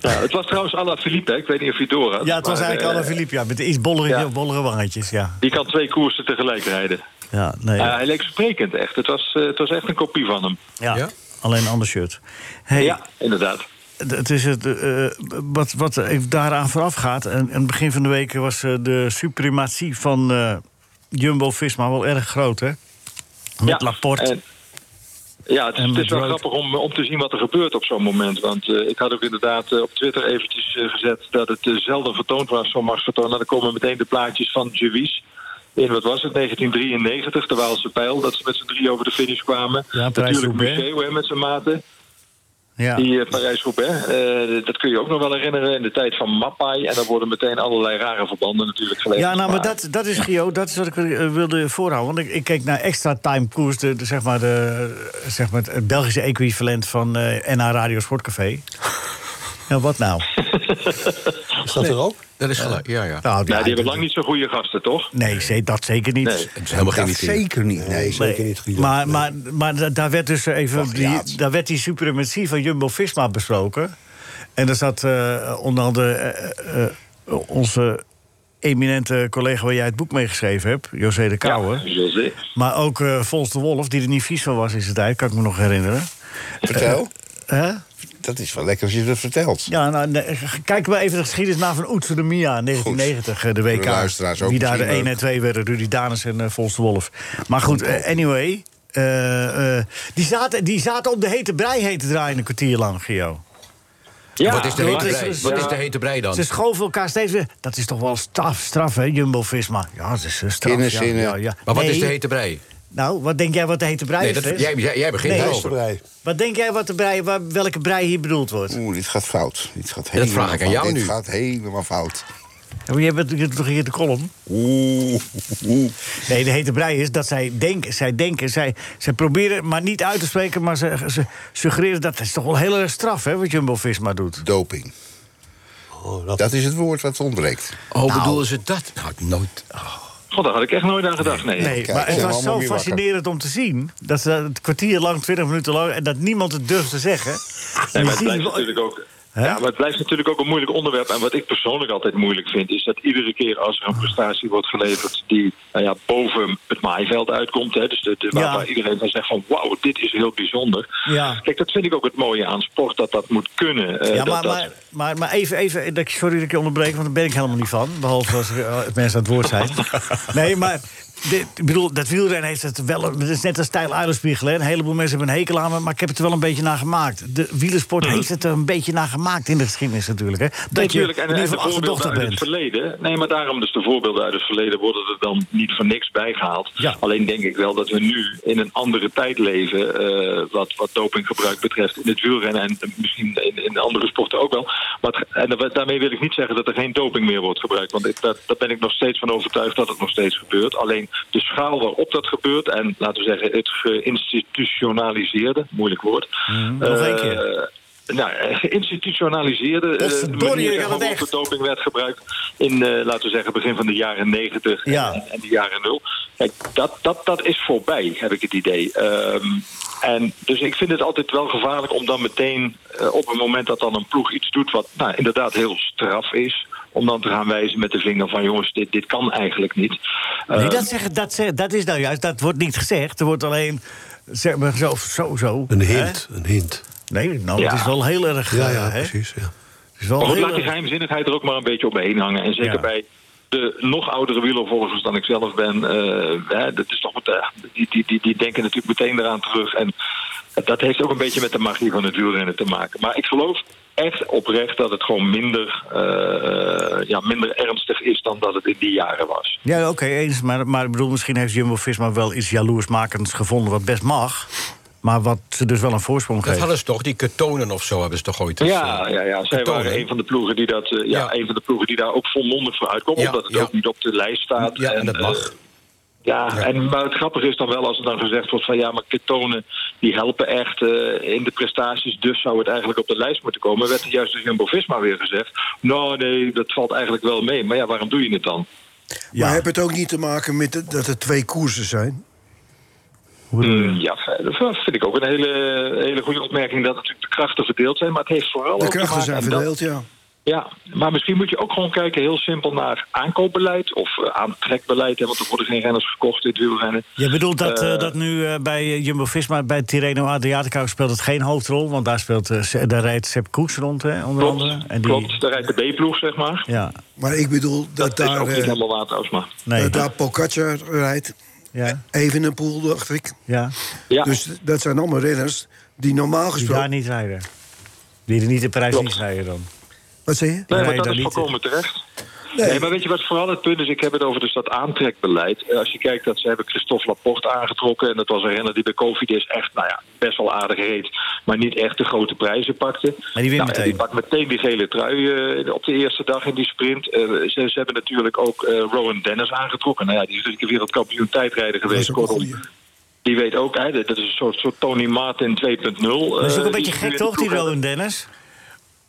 Ja, het was trouwens Alla Philippe, hè. ik weet niet of je het door had. Ja, het was maar, eigenlijk eh, Alain Philippe. Ja, met de iets bollerige, ja. bollerige wangetjes. Ja. Die kan twee koersen tegelijk rijden. Ja, nee, Eh, hij leek sprekend echt. Het was, eh, het was echt een kopie van hem. ja. ja? Alleen een ander shirt. Hey, Ja, inderdaad. D- Het is het, eh, eh, wat, wat even daaraan vooraf gaat. En, en begin van de week was eh, de suprematie van eh, Jumbo-Visma wel erg groot, hè? Met Ja, Laporte. en- ja, het, is- En het is wel met rood. grappig om, om te zien wat er gebeurt op zo'n moment. Want eh, ik had ook inderdaad eh, op Twitter eventjes eh, gezet dat het eh, zelden vertoond was, zo'n machtsvertoon. En Nou, dan komen meteen de plaatjes van Juvis. In wat was het, 1993, de Waalse Pijl, dat ze met z'n drie over de finish kwamen. Ja, Natuurlijk Parijs-Roubaix. Museeuw hè, met zijn maten, ja. die eh, Parijs-Roubaix. Eh, dat kun je ook nog wel herinneren in de tijd van Mappai. En dan worden meteen allerlei rare verbanden natuurlijk gelegd. ja, nou, maar dat, dat is Gio, dat is wat ik eh, wilde voorhouden. Want ik, ik keek naar extra time koers, de, de- zeg maar, de, eh, zeg maar het Belgische equivalent van eh NH Radio Sportcafé. nou, wat nou? Is dat er ook? Dat is gelijk, ja, ja. nou Nou, ja, die hebben lang niet zo goede gasten, toch? Nee, ze- dat zeker niet. Nee. Het is helemaal geen Dat idee. zeker niet, Nee, nee. zeker Nee, niet Guido. Maar, Nee. maar, maar da- daar werd dus even die, Plagiaat. daar werd die suprematie van Jumbo-Visma besproken. En daar zat eh, onder andere eh, eh, onze eminente collega... waar jij het boek mee geschreven hebt, José de Kouwer. Ja, José. Maar ook eh Fons de Wolf, die er niet vies van was in zijn tijd... kan ik me nog herinneren. Vertel. Hè? Dat is wel lekker als je dat vertelt. Ja, nou, nee, g- kijken we even de geschiedenis na van Oetse de Mia in 1990, eh, de WK. Voor de luisteraars ook Wie daar de misschien 1 en leuk. 2 werden, Rudy Danes en eh, Fons de Wolf. Maar goed, eh, anyway. eh, eh, die, zaten, die zaten op de hete brei heen te draaien een kwartier lang, Gio. Ja, Wat is de dat hete is- brei? ja. Wat is de hete brei dan? Ze schoven elkaar steeds weer. Dat is toch wel straf, straf hè, Jumbo-Visma? Ja, dat is eh, straf. Kennis ja, in, eh. ja, ja. Maar wat Nee, is de hete brei? Nou, wat denk jij wat de hete brei Nee, is? dat, Frits? jij, jij, jij begint Nee. Hij is erover. erbij. Wat denk jij wat de brei, waar- welke brei hier bedoeld wordt? Oeh, dit gaat fout. Dit gaat vraag helemaal ik aan fout. jou dit nu. gaat helemaal fout. Ja, maar Je hebt het toch hier de column? Oeh, oeh. Nee, de hete brei is dat zij denken, zij denken, zij, zij proberen maar niet uit te spreken, maar ze, ze suggereren dat het is toch wel heel erg straf hè, wat Jumbo Visma doet. Doping. Oh, dat, Dat is het woord wat ontbreekt. Oh, bedoelen ze dat? Nou, nooit. God, daar had ik echt nooit aan gedacht. Nee, kijk, maar zijn het was we allemaal zo weer wakker. fascinerend om te zien dat ze het kwartier lang, 20 minuten lang, en dat niemand het durft te zeggen. Nee, Je maar het ziet blijft wel- natuurlijk ook Hè? Ja, maar het blijft natuurlijk ook een moeilijk onderwerp. En wat ik persoonlijk altijd moeilijk vind, is dat iedere keer als er een prestatie wordt geleverd die nou ja, boven het maaiveld uitkomt. Hè, dus de, de- waar, Ja. waar iedereen dan zegt van wauw, dit is heel bijzonder. Ja. Kijk, dat vind ik ook het mooie aan sport, dat dat moet kunnen. eh, Ja, dat, maar, dat- maar, maar, maar even, even, dat ik- sorry dat ik je onderbreek, want daar ben ik helemaal niet van. Behalve als er, eh, mensen aan het woord zijn. Nee, maar dit, ik bedoel, dat wielrennen heeft het wel... een- Het is net als stijl aardappelspiegel, hè. Een heleboel mensen hebben een hekel aan me, maar ik heb het er wel een beetje naar gemaakt. De wielersport Mm. heeft het er een beetje naar gemaakt in de geschiedenis natuurlijk, hè. Dat je Natuurlijk, in en, en ieder de geval voorbeelden achterdochtig uit het bent. verleden. Nee, maar daarom dus de voorbeelden uit het verleden worden er dan niet voor niks bijgehaald. Ja. Alleen denk ik wel dat we nu in een andere tijd leven, eh, wat, wat dopinggebruik betreft, in het wielrennen en misschien in, in andere sporten ook wel. Maar het- en da- daarmee wil ik niet zeggen dat er geen doping meer wordt gebruikt. Want ik, daar, daar ben ik nog steeds van overtuigd dat het nog steeds gebeurt. Alleen de schaal waarop dat gebeurt en laten we zeggen het geïnstitutionaliseerde, moeilijk woord. Mhm. nog één eh, nou, eh, geïnstitutionaliseerde eh, Potverdorie, manier je gaat het waarop echt. de doping werd gebruikt in, eh, laten we zeggen, begin van de jaren 90 en- Ja. en, de jaren nul. Kijk, dat, dat, dat is voorbij, heb ik het idee. Ehm, en dus ik vind het altijd wel gevaarlijk om dan meteen eh, op het moment dat dan een ploeg iets doet wat nou, inderdaad heel straf is, om dan te gaan wijzen met de vinger van jongens, dit, dit kan eigenlijk niet. Nee, Ehm, dat, zeggen, dat, zeggen, dat is nou juist, dat wordt niet gezegd. Er wordt alleen, zeg maar, zo, zo, zo. Een hè. hint, een hint. Nee, nou, Ja. het is wel heel erg... Ja, eh, ja, hè. precies. Ja. Het is wel Maar goed, heel laat die erg- geheimzinnigheid er ook maar een beetje omheen hangen. En zeker Ja. bij de nog oudere wielervolgers dan ik zelf ben. eh, hè, dat is toch, wat, eh, die, die, die, die denken natuurlijk meteen eraan terug. En dat heeft ook een beetje met de magie van het wielrennen te maken. Maar ik geloof echt oprecht dat het gewoon minder, eh, ja, minder ernstig is dan dat het in die jaren was. Ja, oké, eens. Maar, maar ik bedoel, misschien heeft Jumbo-Visma wel iets jaloersmakends gevonden... wat best mag, maar wat ze dus wel een voorsprong Dat geeft. hadden ze toch, die ketonen of zo hebben ze toch ooit. eens, Ja, eh, ja, ja. zij ketonen. waren een van, de ploegen die dat, eh, ja, Ja. een van de ploegen die daar ook volmondig voor uitkomen. Ja, omdat het ja. ook niet op de lijst staat. Ja, en dat eh, mag. Ja, Ja. En, maar het grappige is dan wel als er dan gezegd wordt van ja, maar ketonen die helpen echt eh, in de prestaties, dus zou het eigenlijk op de lijst moeten komen. Werd er juist door Jumbo Visma weer gezegd. Nou nee, dat valt eigenlijk wel mee. Maar ja, waarom doe je het dan? Ja. Maar heb het ook niet te maken met het- dat er twee koersen zijn? Hmm, Ja, dat vind ik ook een hele, hele goede opmerking dat natuurlijk de krachten verdeeld zijn. Maar het heeft vooral De ook te krachten maken- zijn en dat- verdeeld, ja. Ja, maar misschien moet je ook gewoon kijken heel simpel naar aankoopbeleid of eh, aantrekbeleid. Hè, want er worden geen renners gekocht in het wielrennen. Je bedoelt dat, eh, Eh, dat nu eh, bij eh, Jumbo-Visma, bij Tirreno Adriatico... speelt het geen hoofdrol, want daar, speelt, eh, Se- daar rijdt Sepp Koeks rond, hè, onder andere. Klopt, En die- klopt, daar rijdt de B-ploeg, zeg maar. Ja, Maar ik bedoel dat, Dat, is daar, ook niet eh, helemaal waar trouwens, maar... nee. dat Eh, daar Pogacar rijdt. Ja, Even een pool, dacht ik. ja. Ja, Dus dat zijn allemaal renners die normaal Die gesproken... daar niet rijden. Die er niet in Parijs Klopt. niet rijden dan. Wat zeg je? nee, maar Nee, dat dat is niet. volkomen terecht. Nee. Nee. maar weet je wat vooral het punt is? Ik heb het over dus dat aantrekbeleid. Eh, Als je kijkt dat ze hebben Christophe Laporte aangetrokken... en dat was een renner die bij Covidis echt, nou ja, best wel aardig reed... maar niet echt de grote prijzen pakte. En die wint Nou, meteen. die pakt meteen die gele trui eh, op de eerste dag in die sprint. Eh, ze, ze hebben natuurlijk ook eh, Rowan Dennis aangetrokken. Nou ja, die is drie keer wereldkampioen tijdrijder Dat geweest. is ook een Kortom, goeie. die weet ook, hè, dat dat is een soort, soort Tony Martin 2.0. Dat is ook een eh, beetje die ze nu in gek, de toch, die ploeg hebben. Rowan Dennis?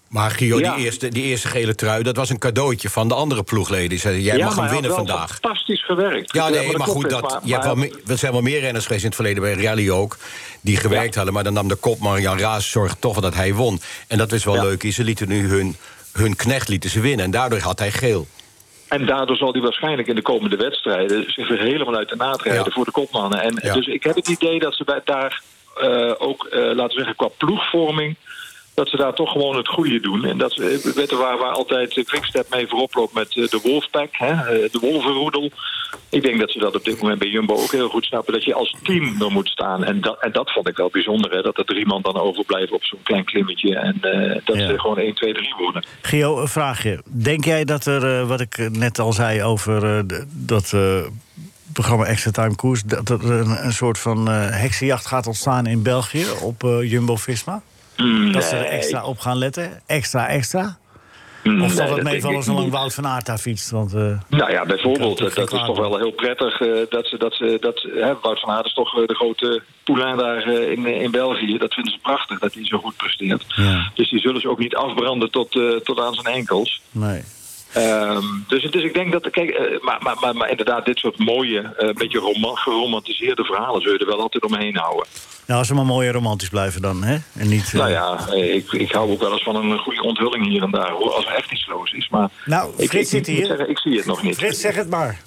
Maar Gio, Ja. die, eerste, die eerste gele trui, dat was een cadeautje van de andere ploegleden. Die zeiden, jij Ja, mag maar hem hij had winnen wel vandaag. Fantastisch gewerkt. Ja, Dus, eh, nee, maar klopt goed, is, dat, maar- je hebt wel, maar- me- er zijn wel meer renners geweest in het verleden, bij Rally ook... die gewerkt hadden, maar dan nam de kopman Jan Raas zorgde toch wel dat hij won. En dat was wel Ja. leuk, ze lieten nu hun, hun knecht lieten ze winnen... en daardoor had hij geel. En daardoor zal hij waarschijnlijk in de komende wedstrijden zich weer helemaal uit de naad rijden Ja. voor de kopmannen. En Ja. dus ik heb het idee dat ze bij, daar eh, ook, eh, laten we zeggen, qua ploegvorming. Dat ze daar toch gewoon het goede doen. En dat ze, eh, weten waar, waar altijd eh, Quickstep mee voorop loopt met eh, de Wolfpack, hè, eh, de Wolvenroedel. Ik denk dat ze dat op dit moment bij Jumbo ook heel goed snappen. Dat je als team er moet staan. En dat, en dat vond ik wel bijzonder. Hè, dat er drie man dan overblijven op zo'n klein klimmetje. En eh, dat Ja. ze gewoon 1, 2, 3 worden. Gio, een vraagje. Denk jij dat er, eh, wat ik eh, net al zei over eh, d- dat eh, programma Extra Time Koers... dat er een, een soort van eh, heksenjacht gaat ontstaan in België op eh, Jumbo-Visma? Mm, Dat ze er extra op gaan letten? Extra, extra? Of zal Mm, Nee, het dat denk meevallen ik zolang niet. Wout van Aert daar fietst? Want, eh, Nou ja, bijvoorbeeld, Kan dat, toch dat geen kwaad is toch wel heel prettig. eh, dat ze, dat ze, dat, hè, Wout van Aert is toch eh, de grote poulain daar eh, in, eh, in België. Dat vinden ze prachtig, dat hij zo goed presteert. Ja. Dus die zullen ze ook niet afbranden tot, eh, tot aan zijn enkels. nee. Ehm, dus, dus ik denk dat, kijk, eh, maar, maar, maar, maar inderdaad, dit soort mooie, eh, beetje roman, geromantiseerde verhalen zul je er wel altijd omheen houden. Nou, ze maar mooi en romantisch blijven dan, hè? En niet, eh, Nou ja, eh, ik, ik hou ook wel eens van een goede onthulling hier en daar, hoor, als er echt iets los is. Maar Nou, ik, Frits ik, zit ik moet hier. zeggen, ik zie het nog niet. Frits, zeg het maar.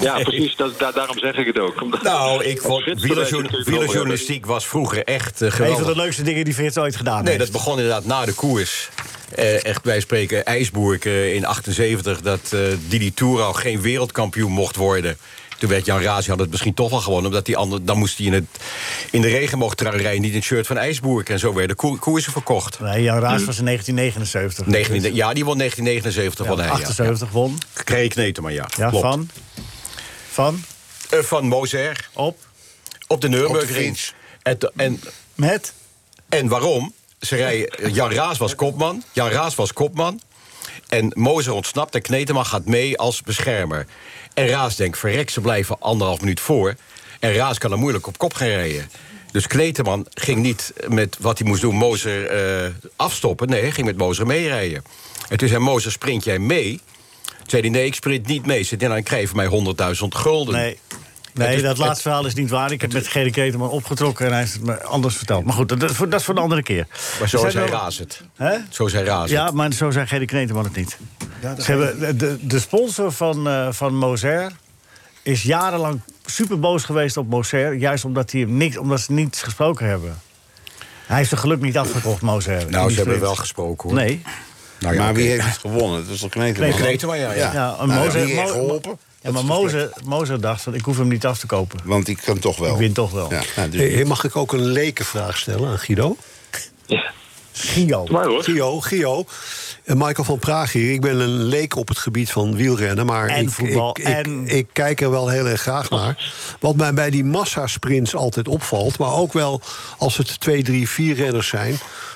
Ja, precies, dat, daar- daarom zeg ik het ook. Omdat- Nou, ik Als vond Frits wielerjour- bereikt natuurlijk wel- wielerjournalistiek was vroeger echt eh, Een van geweldig. de leukste dingen die Frits ooit gedaan Nee, heeft. dat begon inderdaad na de koers. Eh, echt, wij spreken IJsboerk eh, in 78... dat eh, Didi Tourau geen wereldkampioen mocht worden. Toen werd Jan Razi had het misschien toch wel gewonnen... omdat die ander, dan moest hij in, het, in de regenboogtrui rijden... niet in het shirt van IJsboerk. En zo werden koer- koersen verkocht. Nee, Jan Raas was in 1979. 19, ja, die won 1979 Ja, won hij. 78 won. Ja. Kreeg kneten, maar ja. Ja, klopt. van? Van? Eh, van Moser Op? op de Nürburgring. fiets. En, to- en Met? En waarom? Ze rijden, Jan Raas was kopman. Jan Raas was kopman. En Mozer ontsnapt en Kneteman gaat mee als beschermer. En Raas denkt, verrek, ze blijven anderhalf minuut voor. En Raas kan er moeilijk op kop gaan rijden. Dus Kneteman ging niet met wat hij moest doen, Mozer eh, afstoppen. Nee, hij ging met Mozer meerijden. En toen zei Mozer, sprint jij mee? Toen zei hij, nee, ik sprint niet mee. Ze zei, nou, dan krijg je van mij 100.000 gulden. Nee. Nee, Het is- dat laatste het- verhaal is niet waar. Ik heb met Gerry Keteman opgetrokken en hij heeft het me anders verteld. Maar goed, dat, dat, is voor- dat is voor een andere keer. Maar zo Zijn zei er- Raas het. Hè? Zo zei Raas het. Ja, maar zo zei Gerry Kneteman het niet. Ze hebben, de- de, de sponsor van, eh van Moser is jarenlang super boos geweest op Moser. Juist omdat, hij hem niks, omdat ze niets gesproken hebben. Hij heeft zijn geluk niet afgekocht, Moser. in Nou, die ze hebben wel sprint. gesproken, hoor. Nee. Nou, ja, maar wie oké. heeft het gewonnen? Dat is toch kneten? Nee, Kneten, maar ja, ja. Ja. Ja, en Nou, Moser, die heeft geholpen. Ja, maar Moser, Moser dacht van ik hoef hem niet af te kopen. Want ik kan toch wel. Ik win toch wel. Ja, nou, dus Hey, hey, mag ik ook een lekenvraag stellen aan Guido? Ja, Gio. maar hoor. Gio, Gio. En Eh, Michael van Praag hier. Ik ben een leek op het gebied van wielrennen. Maar En ik, voetbal, Ik, ik, en- Oh. ik kijk er wel heel erg graag naar. Wat mij bij die massasprints altijd opvalt. Maar ook wel als het twee, drie, vier renners zijn.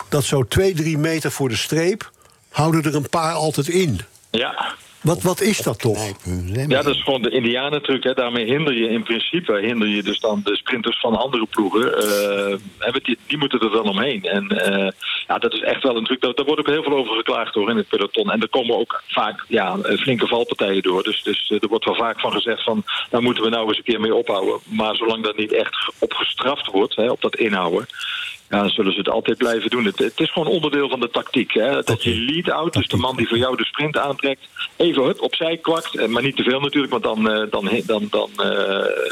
Dat zo twee, drie meter voor de streep. houden er een paar altijd in. Ja. Wat, wat is dat toch? Ja, dat is gewoon de indianentruc. Hè. Daarmee hinder je in principe hinder je dus dan de sprinters van andere ploegen. Eh, hè, want die, die moeten er wel omheen. En eh, ja, dat is echt wel een truc. Daar, daar wordt ook heel veel over geklaagd hoor, in het peloton. En er komen ook vaak ja, eh, flinke valpartijen door. Dus, dus eh, er wordt wel vaak van gezegd van... daar moeten we nou eens een keer mee ophouden. Maar zolang dat niet echt op gestraft wordt, hè, op dat inhouden... Ja, zullen ze het altijd blijven doen. Het, het is gewoon onderdeel van de tactiek. Hè? Dat je lead-out, dus de man die voor jou de sprint aantrekt... even hup, opzij kwakt, eh, maar niet te veel natuurlijk... want dan, eh, dan, he- dan, dan eh,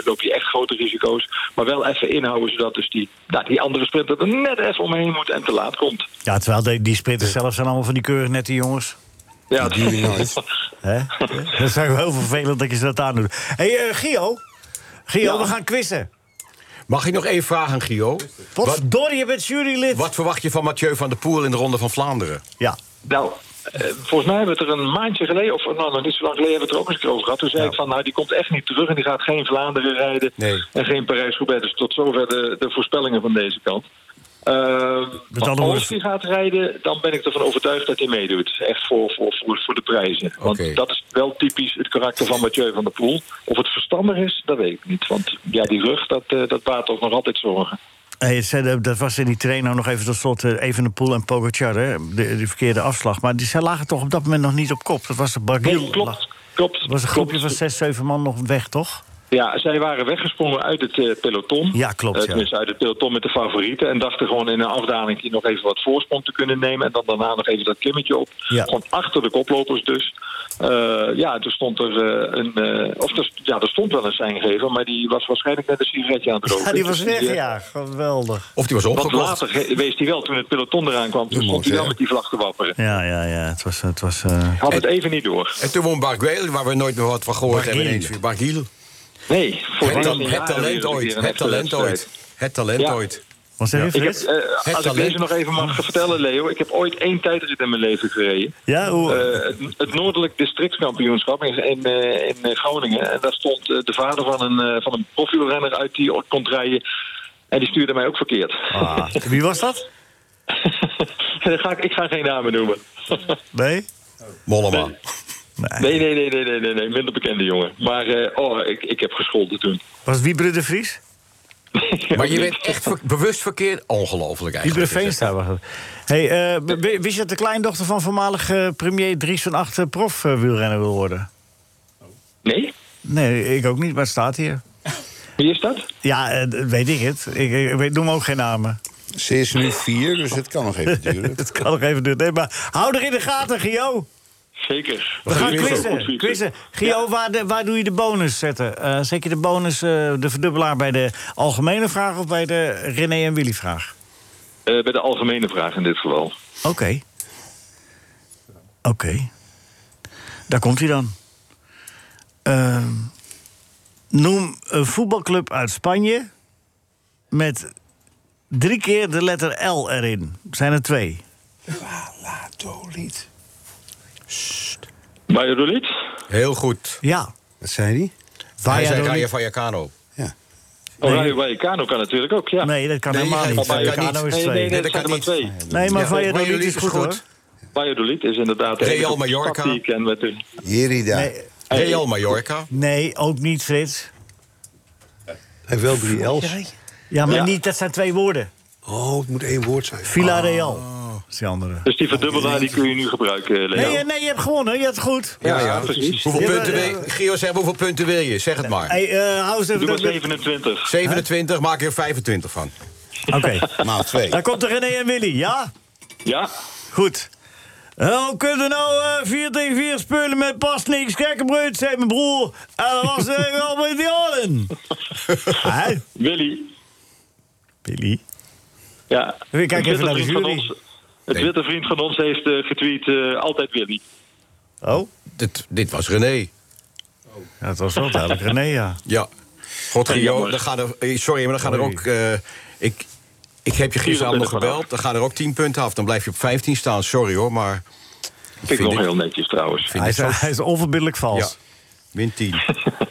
loop je echt grote risico's. Maar wel even inhouden, zodat dus die, nou, die andere sprinter er net even omheen moet... en te laat komt. Ja, terwijl die, die sprinters zelf zijn allemaal van die keurig nette jongens. Ja, dat Hè? dat is eigenlijk heel vervelend dat je ze dat aandoet. Hé, hey, eh, Gio. Gio, we gaan quizzen. Mag ik nog één vraag aan Gio? Wat Wat, verdorie, je bent jurylid. wat verwacht je van Mathieu van der Poel in de Ronde van Vlaanderen? Ja, Nou, eh, volgens mij hebben we het er een maandje geleden, of nou, nog niet zo lang geleden, hebben we het er ook eens een keer over gehad. Toen zei ik van, nou, die komt echt niet terug en die gaat geen Vlaanderen rijden Nee. en geen Parijs-Roubaix. Dus tot zover de, de voorspellingen van deze kant. Ehm, maar andere woorden- als hij gaat rijden, dan ben ik ervan overtuigd dat hij meedoet. Echt voor, voor, voor, voor de prijzen. Want Oké. dat is wel typisch het karakter van Mathieu van der Poel. Of het verstandig is, dat weet ik niet. Want ja, die rug, dat, eh, dat baat ook nog altijd zorgen. Hey, het zei- dat was in die trainer nog even tot slot. eh, Even de Poel en Pogacar, hè? De, de verkeerde afslag. Maar die, zij lagen toch op dat moment nog niet op kop. Dat was de Barguil. Nee, klopt. Dat Klopt. was een groepje klopt. van zes, zeven man nog weg, toch? Ja, zij waren weggesprongen uit het eh, peloton. Ja, klopt, Eh, ja. tenminste, uit het peloton met de favorieten. En dachten gewoon in een afdaling hier nog even wat voorsprong te kunnen nemen. En dan daarna nog even dat klimmetje op. Ja. Gewoon achter de koplopers dus. Eh, ja, toen stond er eh, een... eh, of er, ja, er stond wel een seingever, maar die was waarschijnlijk net een sigaretje aan het roken. Ja, die was Dus weg, eh, ja. Geweldig. Of die was Want opgekocht? later ge- wees hij wel, toen het peloton eraan kwam, toen stond hij wel met die vlag te wapperen. Ja, ja, ja. Het was... Het was eh, Had het even niet door. En toen won Barguil, waar we nooit meer wat van gehoord Barguil. hebben. ineens weer. Barguil. Nee, voor Het, ta- het talent ooit. Het talent ooit. Het talent Ja. ooit. Wat zeg je, Ik heb, Frits? eh, Het als ik talent. deze nog even mag vertellen, Leo. Ik heb ooit één tijdrit in mijn leven gereden. Ja, hoe... Eh, het, het Noordelijk Districtskampioenschap in, in, eh, in eh, Groningen. En daar stond eh, de vader van een, eh, van een profielrenner uit die ook kon rijden. En die stuurde mij ook verkeerd. Ah, wie was dat? Dan ga ik, ik ga geen namen noemen. Nee? Mollema. Nee, nee, nee, nee, nee, nee, nee. Minder bekende jongen. Maar eh, oh, ik, ik heb gescholden toen. Was Wiebre de Vries? Maar je bent echt ver- bewust verkeerd. Ongelooflijk eigenlijk. Ibreveen staat wel. Hey, eh, w- w- wist je dat de kleindochter van voormalig eh, premier Dries van Acht eh, prof eh, wielrenner wil worden? Nee? Nee, ik ook niet, maar het staat hier. Wie is dat? Ja, eh, d- weet ik het. Ik, ik, ik noem ook geen namen. Ze is nu vier, dus het kan nog even duren. Het kan nog even duren. Nee, maar hou er in de gaten, Gio. Zeker. We gaan Goed quizzen. fietsen. quizzen. Gio, waar, de- waar doe je de bonus zetten? Eh, zet je de bonus, eh, de verdubbelaar, bij de algemene vraag of bij de René en Willy vraag? Eh, bij de algemene vraag in dit geval. Oké. Oké. Daar komt hij dan. Ehm, noem een voetbalclub uit Spanje met drie keer de letter L erin. Zijn er twee. Valladolid. Valladolid? Heel goed. Ja. Wat zei hij? Hij zei Valladolid. Raja Vallecano. Oh, Nee. Rayo Vallecano kan natuurlijk ook, ja. Nee, dat kan Nee, helemaal hij- niet. hij kan Vallecano niet. is nee, nee, twee. nee, dat dat kan kan maar niet. twee. Nee, maar Ja, Valladolid Valladolid is is goed, goed. hoor. Valladolid is inderdaad... de Real enige Mallorca. stad Die ik ken met de... Jerida. Eh, Nee, Real Mallorca. nee, ook niet, Frits. Hij heeft wel drie L's. Ja, maar Ja. niet, dat zijn twee woorden. Oh, het moet één woord zijn. Villarreal is die andere. Dus die verdubbelaar die kun je nu gebruiken, Leo. Nee, eh, nee, je hebt gewonnen. Je hebt het goed. Ja, ja, precies. Hoeveel Ja, punten maar, wil je? Gio, zeg, hoeveel punten wil je? Zeg het maar. Hey, eh, hou eens even Doe maar dubbel- 27. 27, maak er 25 van. Oké, Maal twee. daar komt de René en Willy, ja? Ja, Goed. Eh, Hoe kunnen we nou eh, 4 tegen 4 spelen met pas niks kekkenbreut, zei mijn broer. En dat was eh, wel met die allen. Hè? Willy. Billy. Ja. We kijken Een even witte naar de vriend van jury. ons- Een witte vriend van ons heeft eh, getweet eh, altijd Willy. Oh, Dit, dit was René. ja, dat was wel duidelijk. René, ja. Ja. God, Gio, jammer. dan gaan er, eh, sorry, maar dan gaan er ook... eh, ik, ik heb je gisteren allemaal 24 gebeld. Dan gaan er ook 10 punten af. Dan blijf je op 15 staan. Sorry hoor, maar... Vind ik nog dit- heel netjes trouwens. Hij is, dit zo- hij is onverbiddelijk Ja. vals. Min 10.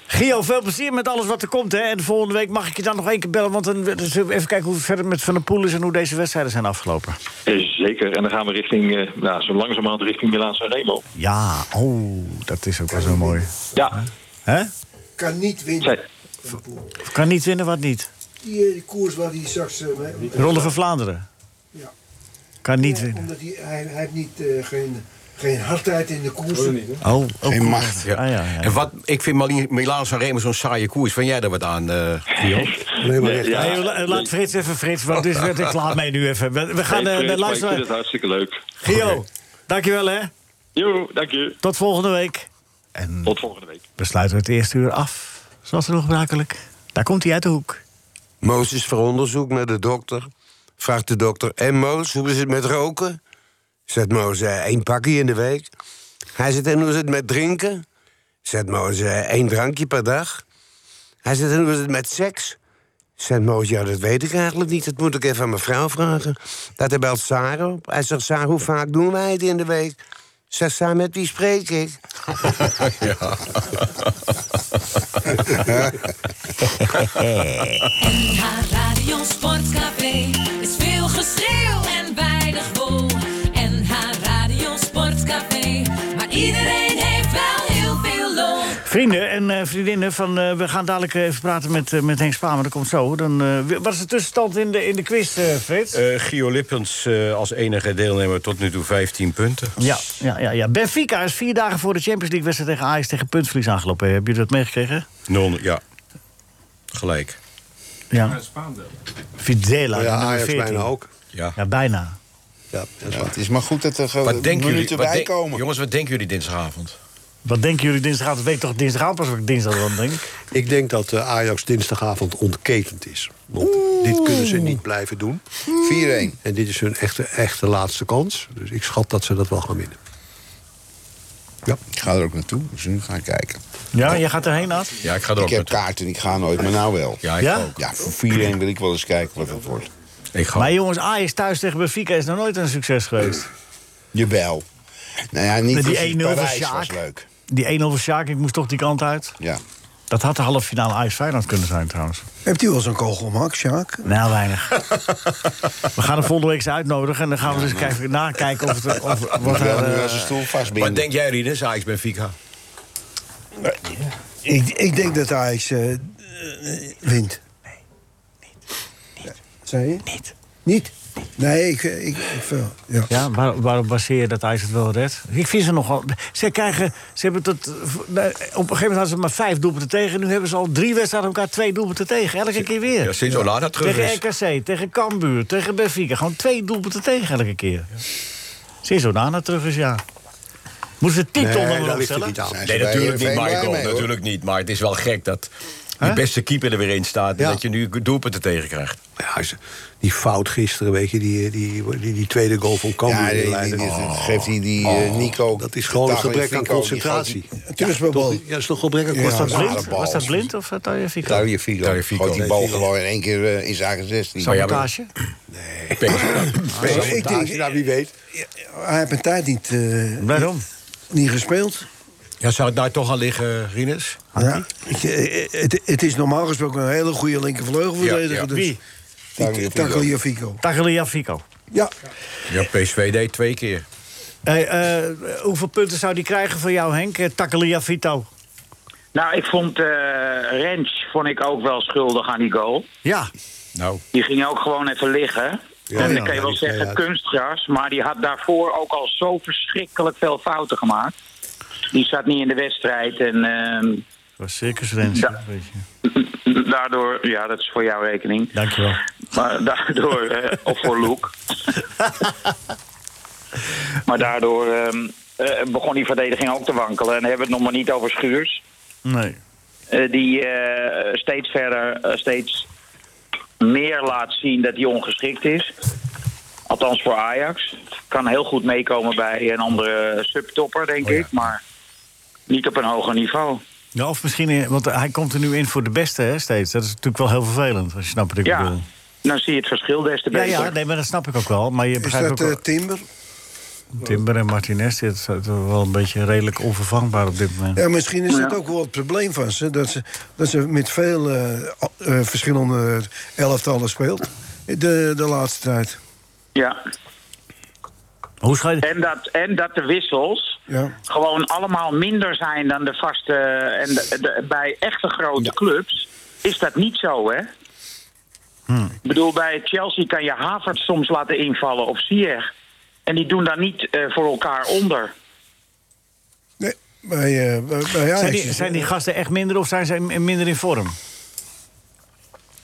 Gio, veel plezier met alles wat er komt. Hè. En volgende week mag ik je dan nog één keer bellen. Want dan dus even kijken hoe het verder met Van der Poel is... en hoe deze wedstrijden zijn afgelopen. Eh, Zeker. En dan gaan we richting, eh, nou, zo langzamerhand richting Milaan San Remo. Ja, oh, dat is ook wel zo mooi. Ja, Hè? Ah, Kan niet winnen. zij, Kan niet winnen, wat niet. Die, koers waar hij straks eh, mee... Ronde van Vlaanderen. Ja. Kan niet winnen. Omdat hij, hij, heeft niet, eh, geen, geen hardheid in de koers. Oh, ook goed. macht. Ja. Ah, ja, ja. En wat, ik vind Malien- Milaan Sanremo zo'n saaie koers. Vind jij daar wat aan, eh, Gio? Alleen maar recht. ja. Hey, la- laat Frits even, Frits, want dit werd ik laat mee nu even. We, we gaan Hey, eh, Frits, naar maar ik vind het luisteren. hartstikke leuk. Gio, dankjewel hè. Jo, dank je. Tot volgende week. En Tot volgende week. we sluiten het eerste uur af, zoals nog gebruikelijk. Daar komt hij uit de hoek. Mozes voor onderzoek naar de dokter. Vraagt de dokter, en Moos, hoe is het met roken? Zegt Moos, eh, één pakje in de week. Hij zegt, en hoe is het met drinken? Zegt Moos, eh, één drankje per dag. Hij zegt, en hoe is het met seks? Zegt Moos, ja, dat weet ik eigenlijk niet. Dat moet ik even aan mijn vrouw vragen. Dat hij belt Sarah op. Hij zegt, Sarah, hoe vaak doen wij het in de week? Zegt Sarah, met wie spreek ik? NH Radio Sportcafé is veel geschreeuw en weinig wol. NH Radio Sportcafé, maar iedereen heeft wel heel veel lol. Vrienden en eh, vriendinnen, van, eh, we gaan dadelijk even praten met, eh, met Henk Spamer. Dat komt zo. Dan, eh, wat is de tussenstand in de, in de quiz, eh, Frits? Eh, Gio Lippens eh, als enige deelnemer tot nu toe 15 punten. Ja, ja, ja, ja. Benfica is vier dagen voor de Champions League wedstrijd tegen Ajax tegen puntverlies aangelopen. Heb je dat meegekregen? Nul, ja. Gelijk. Ja. Videla, Ja, nummer Ajax 14. bijna ook. Ja. Ja, bijna. Ja, dat is Ja, waar. het is maar goed dat er Wat gewoon denken minuten jullie, wat bij denk- komen. jongens, wat denken jullie dinsdagavond? Wat denken jullie dinsdagavond? Dat weet ik toch dinsdagavond pas wat ik dinsdag dan denk. Ik denk dat eh, Ajax dinsdagavond ontketend is. Want dit kunnen ze niet blijven doen. 4-1. En dit is hun echte, echte laatste kans. Dus ik schat dat ze dat wel gaan winnen. Ik ga er ook naartoe, dus nu ga ik kijken. Ja, jij gaat erheen, Ad? Oh. Ja, ik ga er Ik ook heb naartoe. kaarten, ik ga nooit, maar nou wel. Ja, ik Ja? ook. Ja, voor 4-1 wil ik wel eens kijken wat het wordt. Ik ga. Maar jongens, Ajax thuis tegen Benfica is nog nooit een succes geweest. Jawel. Nou ja, niet Met die als je 1-0 van Parijs Sjaak. was leuk. Die 1-0 van Sjaak, ik moest toch die kant uit. Ja. Dat had de halve finale Ajax Feyenoord kunnen zijn trouwens. Hebt u wel zo'n kogelmak, Sjaak? Nou, weinig. we gaan hem volgende week eens uitnodigen en dan gaan we eens kijken, nakijken of, het, of wat Moet wel er... nu eh, als een stoel Wat vastbinden. denk jij, Ah, Riedens, Ajax Benfica? Ik, ik denk dat Ajax eh, eh, wint. Zei je? Niet. Niet? Nee, ik... ik, ik veel. Ja. Ja, waar, waarop baseer je dat IJs het wel redt? Ik vind ze nogal... Ze krijgen... Ze hebben tot, eh, v- nou, op een gegeven moment hadden ze maar vijf doelpunten tegen. Nu hebben ze al drie wedstrijden elkaar twee doelpunten tegen. Elke keer weer. Ja, sinds Onana terug tegen is. RKC, tegen Cambuur, tegen Benfica. Gewoon twee doelpunten tegen elke keer. Sinds Onana terug is, ja. Moeten ze Nee, tittel daar dan wel ligt hij opstellen? niet aan. Nee, Ze natuurlijk bij niet, Heerenveen Michael. blij mee, natuurlijk niet. Maar het is wel gek dat die beste keeper er weer in staat... en Ja. dat je nu doelpunten tegen krijgt. Ja, ze- die fout gisteren, weet je, die, eh, die, die, die tweede goal van Cambuur. Oh, Ja, in de die, die, leiding. die- geeft die, die eh, Nico... dat is gewoon een Tagliafico, gebrek aan die gooit- concentratie. Terugspelbal. Ja, dat is toch gebrek aan Was dat concentratie. blind? bal. Nou, Was dat blind of had je Fico? Tagliafico. Tagliafico, Gooit die nee, bal Fico. gewoon in één keer eh, in zaken 16. Zou jij- Sabotage? ik denk, nou, wie weet. hij heeft een tijd niet, eh, Waarom? niet gespeeld. Ja, zou het daar toch aan liggen, Rinus? Ja. Ik, eh, Het, het is normaal gesproken een hele goede linkervleugelverdediger. Ja, ja. Dus Wie? Die Tagliafico. Tagliafico. Tagalia Fico. Ja. Ja, PSV deed twee keer. Hey, eh, hoeveel punten zou die krijgen van jou, Henk? Eh, Tagalia Vito. Nou, ik vond eh Rens vond ik ook wel schuldig aan die goal. Ja. Nou, Die ging ook gewoon even liggen. en ja, dan kan je wel die twee zeggen uit. kunstgras, maar die had daarvoor ook al zo verschrikkelijk veel fouten gemaakt. Die zat niet in de wedstrijd en ehm, was circus Rens. Ja. hè, weet je. daardoor, ja dat is voor jouw rekening, Dankjewel. maar daardoor, eh, of voor Luke. maar daardoor ehm, eh, begon die verdediging ook te wankelen. En dan hebben we het nog maar niet over Schuurs. Nee. eh, die eh, steeds verder, eh, steeds meer laat zien dat hij ongeschikt is. Althans voor Ajax. Kan heel goed meekomen bij een andere subtopper, denk Oh ik. Maar niet op een hoger niveau. Ja, of misschien, eh, want hij komt er nu in voor de beste hè, steeds. Dat is natuurlijk wel heel vervelend, als je snapt wat ik Ja, bedoel. dan Nou, zie je het verschil des te Ja, beter. ja, nee, maar dat snap ik ook wel. Maar je Is begrijpt dat ook eh, wel- Timber? Timber en Martinez dit is wel een beetje redelijk onvervangbaar op dit moment. Ja, misschien is dat Ja. ook wel het probleem van ze. Dat ze, dat ze met veel eh, al- eh, verschillende elftallen speelt. De, de laatste tijd. Ja. Hoe schijt En, dat, en dat de wissels Ja. gewoon allemaal minder zijn dan de vaste... eh, En de- de- bij echte grote clubs is dat niet zo, hè? Ik bedoel, bij Chelsea kan je Havert soms laten invallen of Ziyech. En die doen daar niet eh, voor elkaar onder. Nee, bij, eh bij, bij Ajax zijn, is die, het- zijn die gasten echt minder of zijn ze m- minder in vorm?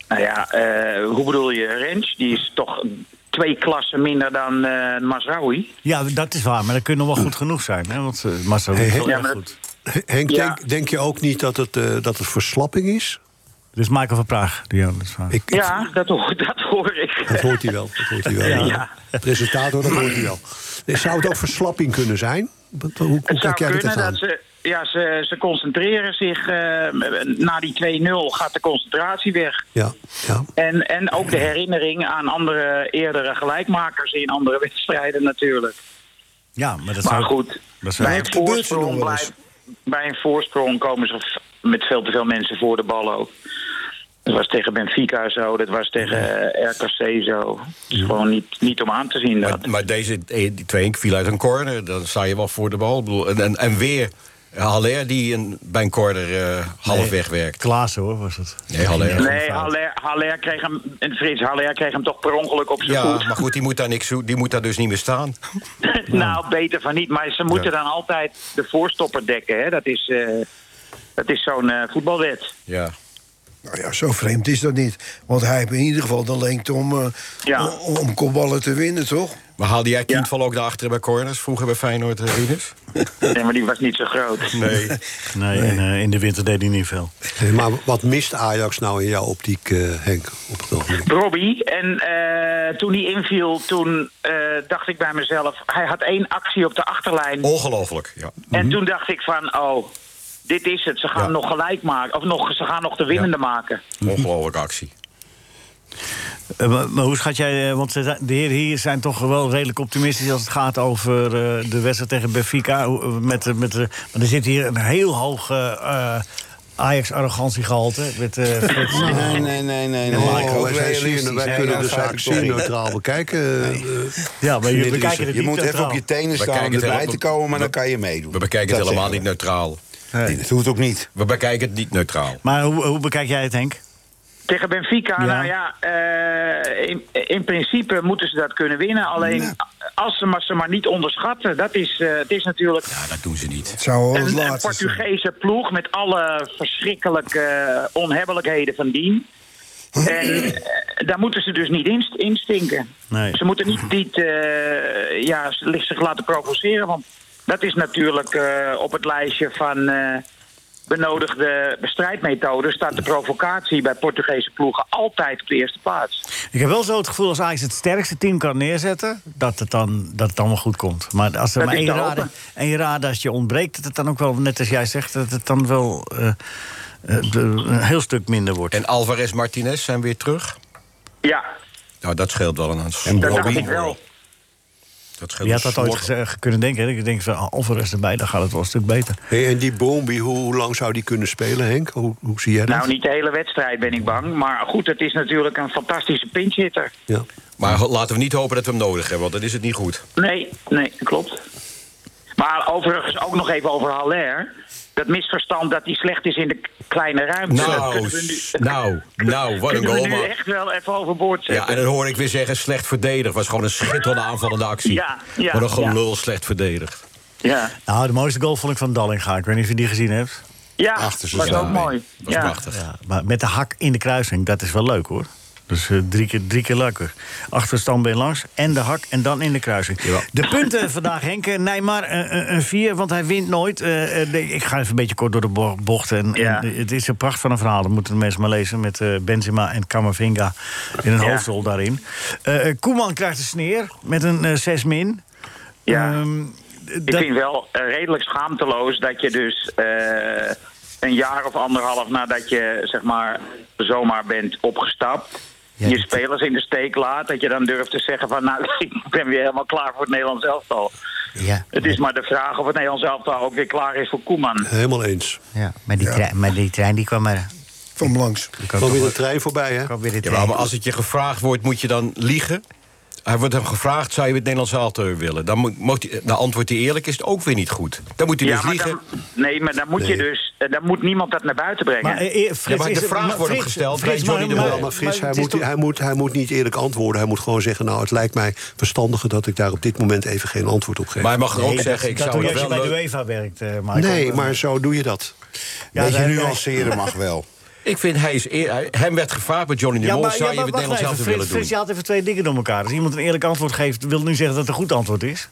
Nou ja, eh, hoe bedoel je? Rens, die is toch twee klassen minder dan eh Masraoui. Ja, dat is waar, maar dat kunnen nog wel goed genoeg zijn. Hè? Want uh, Marcel doet het wel Hey, ja, erg maar- goed. Henk, Ja. denk, denk je ook niet dat het, eh, dat het verslapping is? Dus Michael van Praag, die aan het vragen. Ik, ik- Ja, dat hoor, dat hoor Dat ik. hoort hij wel. Dat hoort hij wel. Ja. De presentator, dat hoort hij wel. Nee, Zou het ook verslapping kunnen zijn? Wat- Hoe, hoe Het zou kijk jij er kunnen tegenaan? dat ze... Ja, ze, ze concentreren zich. eh, na die 2-0 gaat de concentratie weg. Ja, ja. En, en ook de herinnering aan andere eerdere gelijkmakers in andere wedstrijden natuurlijk. Ja, maar dat Maar zou... goed, dat zou- bij het een, gebeurt er voorsprong nog wel eens. blijft- bij een voorsprong komen ze f- met veel te veel mensen voor de bal ook. Dat was tegen Benfica zo, dat was tegen eh, RKC zo. Het is gewoon niet, niet om aan te zien dat. Maar, maar deze eh, die twee viel uit een corner. Dan sta je wel voor de bal. Ik bedoel, En, en, en weer eh, Haller die een, bij een corner eh, half wegwerkt. Klaassen hoor, was het. Nee, Haller. Nee, Haller, Haller kreeg hem, en Frits Haller kreeg hem toch per ongeluk op zijn Ja, voet. maar goed, die moet, daar niks, zo- die moet daar dus niet meer staan. nou, beter van niet. Maar ze moeten Ja. dan altijd de voorstopper dekken. Hè? Dat is, eh, dat is zo'n eh, voetbalwet. Ja. Nou ja, zo vreemd is dat niet. Want hij heeft in ieder geval de lengte om, eh, Ja. om, om kopballen te winnen, toch? Maar haalde jij Ja. Kindval ook naar achteren bij corners? Vroeger bij Feyenoord, eh, Rinus? Nee, maar die was niet zo groot. Nee. Nee, en, eh, in de winter deed hij niet veel. Hey, maar wat mist Ajax nou in jouw optiek, eh, Henk? Op het ogenblik? Robbie. En eh, toen hij inviel, toen eh, dacht ik bij mezelf... hij had één actie op de achterlijn. Oh, Ongelooflijk, ja. En toen dacht ik van, oh, dit is het. Ze gaan Ja. nog gelijk maken. Of nog, ze gaan nog de winnende maken. Ongelooflijke actie. Eh, maar, maar hoe schat jij, eh, want ze zijn- de heren hier zijn toch wel redelijk optimistisch als het gaat over eh, de wedstrijd tegen Benfica. Hoe- eh, Met, de- met, de- maar er zit hier een heel hoog eh, eh, Ajax-arrogantiegehalte. Met, eh, Frits. Nee, nee, nee, nee. nee. Oh, Ook wij, zijn realistisch, zeer- wij hè, kunnen dat de zou zaak ik zeer zeggen. neutraal bekijken. eh, ja, maar jullie bekijken het Je niet moet even neutraal. op je tenen We staan om kijken het erbij heel- te komen, maar we- dan kan je meedoen. We bekijken Dat het helemaal niet zeggen neutraal. we. Nee, Dat hoeft ook niet. We bekijken het niet neutraal. Maar hoe, hoe bekijk jij het, Henk? Tegen Benfica, Ja. nou ja, eh, in, in principe moeten ze dat kunnen winnen. Alleen als ze maar, ze maar niet onderschatten, dat is, eh, het is natuurlijk... Ja, dat doen ze niet. Het zou wel het een, een laatste zijn. Portugese ploeg met alle verschrikkelijke eh, onhebbelijkheden van dien. En eh, daar moeten ze dus niet inst- instinken. Nee. Ze moeten niet, niet eh, ja, ze- zich laten provoceren. Want dat is natuurlijk eh, op het lijstje van eh, benodigde bestrijdmethoden... staat de provocatie bij Portugese ploegen altijd op de eerste plaats. Ik heb wel zo het gevoel als Ajax het sterkste team kan neerzetten... dat het dan, dat het dan wel goed komt. Maar als er Dat maar is één te raad, hopen. één raadasje ontbreekt... dat het dan ook wel, net als jij zegt, dat het dan wel eh, eh, de- een heel stuk minder wordt. En Alvarez Martinez zijn weer terug. Ja, Nou, dat scheelt wel een aantal. En Dat dacht Bobby. ik wel. Dat scheelt Je een had dat ooit slordig. gezegd, kunnen denken. hè? Ik denk van, ah, Alvarez erbij, dan gaat het wel een stuk beter. Hey, en die Bombi, hoe, hoe lang zou die kunnen spelen, Henk? Hoe, hoe zie jij dat? Nou, niet de hele wedstrijd ben ik bang. Maar goed, het is natuurlijk een fantastische pinchhitter. Maar ho- laten we niet hopen dat we hem nodig hebben, want dan is het niet goed. Nee, nee, klopt. Maar overigens ook nog even over Haller. Dat misverstand dat hij slecht is in de k- kleine ruimte. dat Nou, kunnen we nu, s- nou, nou, wat een kunnen we goal, nu man. echt wel even overboord Ja, zetten. en dan hoor ik weer zeggen, slecht verdedigd. Was gewoon een schitterende aanvallende actie. Ja, ja, Wat een ja. gelul, slecht verdedigd. Ja. Nou, de mooiste goal vond ik van Dallinga. Ik weet niet of je die gezien hebt. Ja, Achter zijn was ook lijn. mooi. Dat is Ja. prachtig. Maar met de hak in de kruising, dat is wel leuk hoor. Dus eh, drie keer, drie keer leuker. Achterstandbeen langs en de hak en dan in de kruising. De punten vandaag, Henk. Eh, Nijmar eh, eh, een vier, want hij wint nooit. Eh, eh, nee, ik ga even een beetje kort door de bo- bocht. En, Ja. en, eh, het is een pracht van een verhaal. Dat moeten de mensen maar lezen. Met eh, Benzema en Camavinga in een Ja. hoofdrol daarin. Eh, eh, Koeman krijgt een sneer met een eh, 6 min. Ja. Ehm, Ik vind wel eh, redelijk schaamteloos dat je dus eh, een jaar of anderhalf nadat je zeg maar zomaar bent opgestapt. je spelers in de steek laat, dat je dan durft te zeggen van nou, ik ben weer helemaal klaar voor het Nederlands elftal. Ja, Het is maar de vraag of het Nederlands elftal ook weer klaar is voor Koeman. Helemaal eens. ja. Maar, die trein, maar die trein die kwam er. Van langs. Kwam weer de trein voorbij, hè? Kwam weer de Ja, trein. maar als het je gevraagd wordt, moet je dan liegen? Hij wordt hem gevraagd, zou je het Nederlands elftal willen? Dan, moet, moet hij- dan antwoordt hij eerlijk, is het ook weer niet goed. Dan moet hij dus maar liegen. dan, nee, maar dan moet je dus, eh, dan moet niemand dat naar buiten brengen. Maar, eh, eh, Frits, Ja, maar de is het- vraag maar wordt hem Frits, gesteld bij Frits, maar- Johnny de maar- Ja, maar Frits, maar Nou, hij het is moet, toch- hij, moet, hij moet niet eerlijk antwoorden. Hij moet gewoon zeggen, nou, het lijkt mij verstandiger... dat ik daar op dit moment even geen antwoord op geef. Maar hij mag er ook Nee, dat- zeggen, ik dat zou doe je het als je wel bij de leuk- UEFA werkt, eh Michael. Nee, maar zo doe je dat. Ja, Beetje daar- nuanceren mag wel. Ik vind, hij is eer- hij- hem werd gevraagd bij Johnny de Ja, Mol... maar, ja, zou je maar het wacht Nederlands even, elftal Frits, willen doen? Frits, je haalt even twee dingen door elkaar. Als iemand een eerlijk antwoord geeft, wil het nu zeggen dat het een goed antwoord is?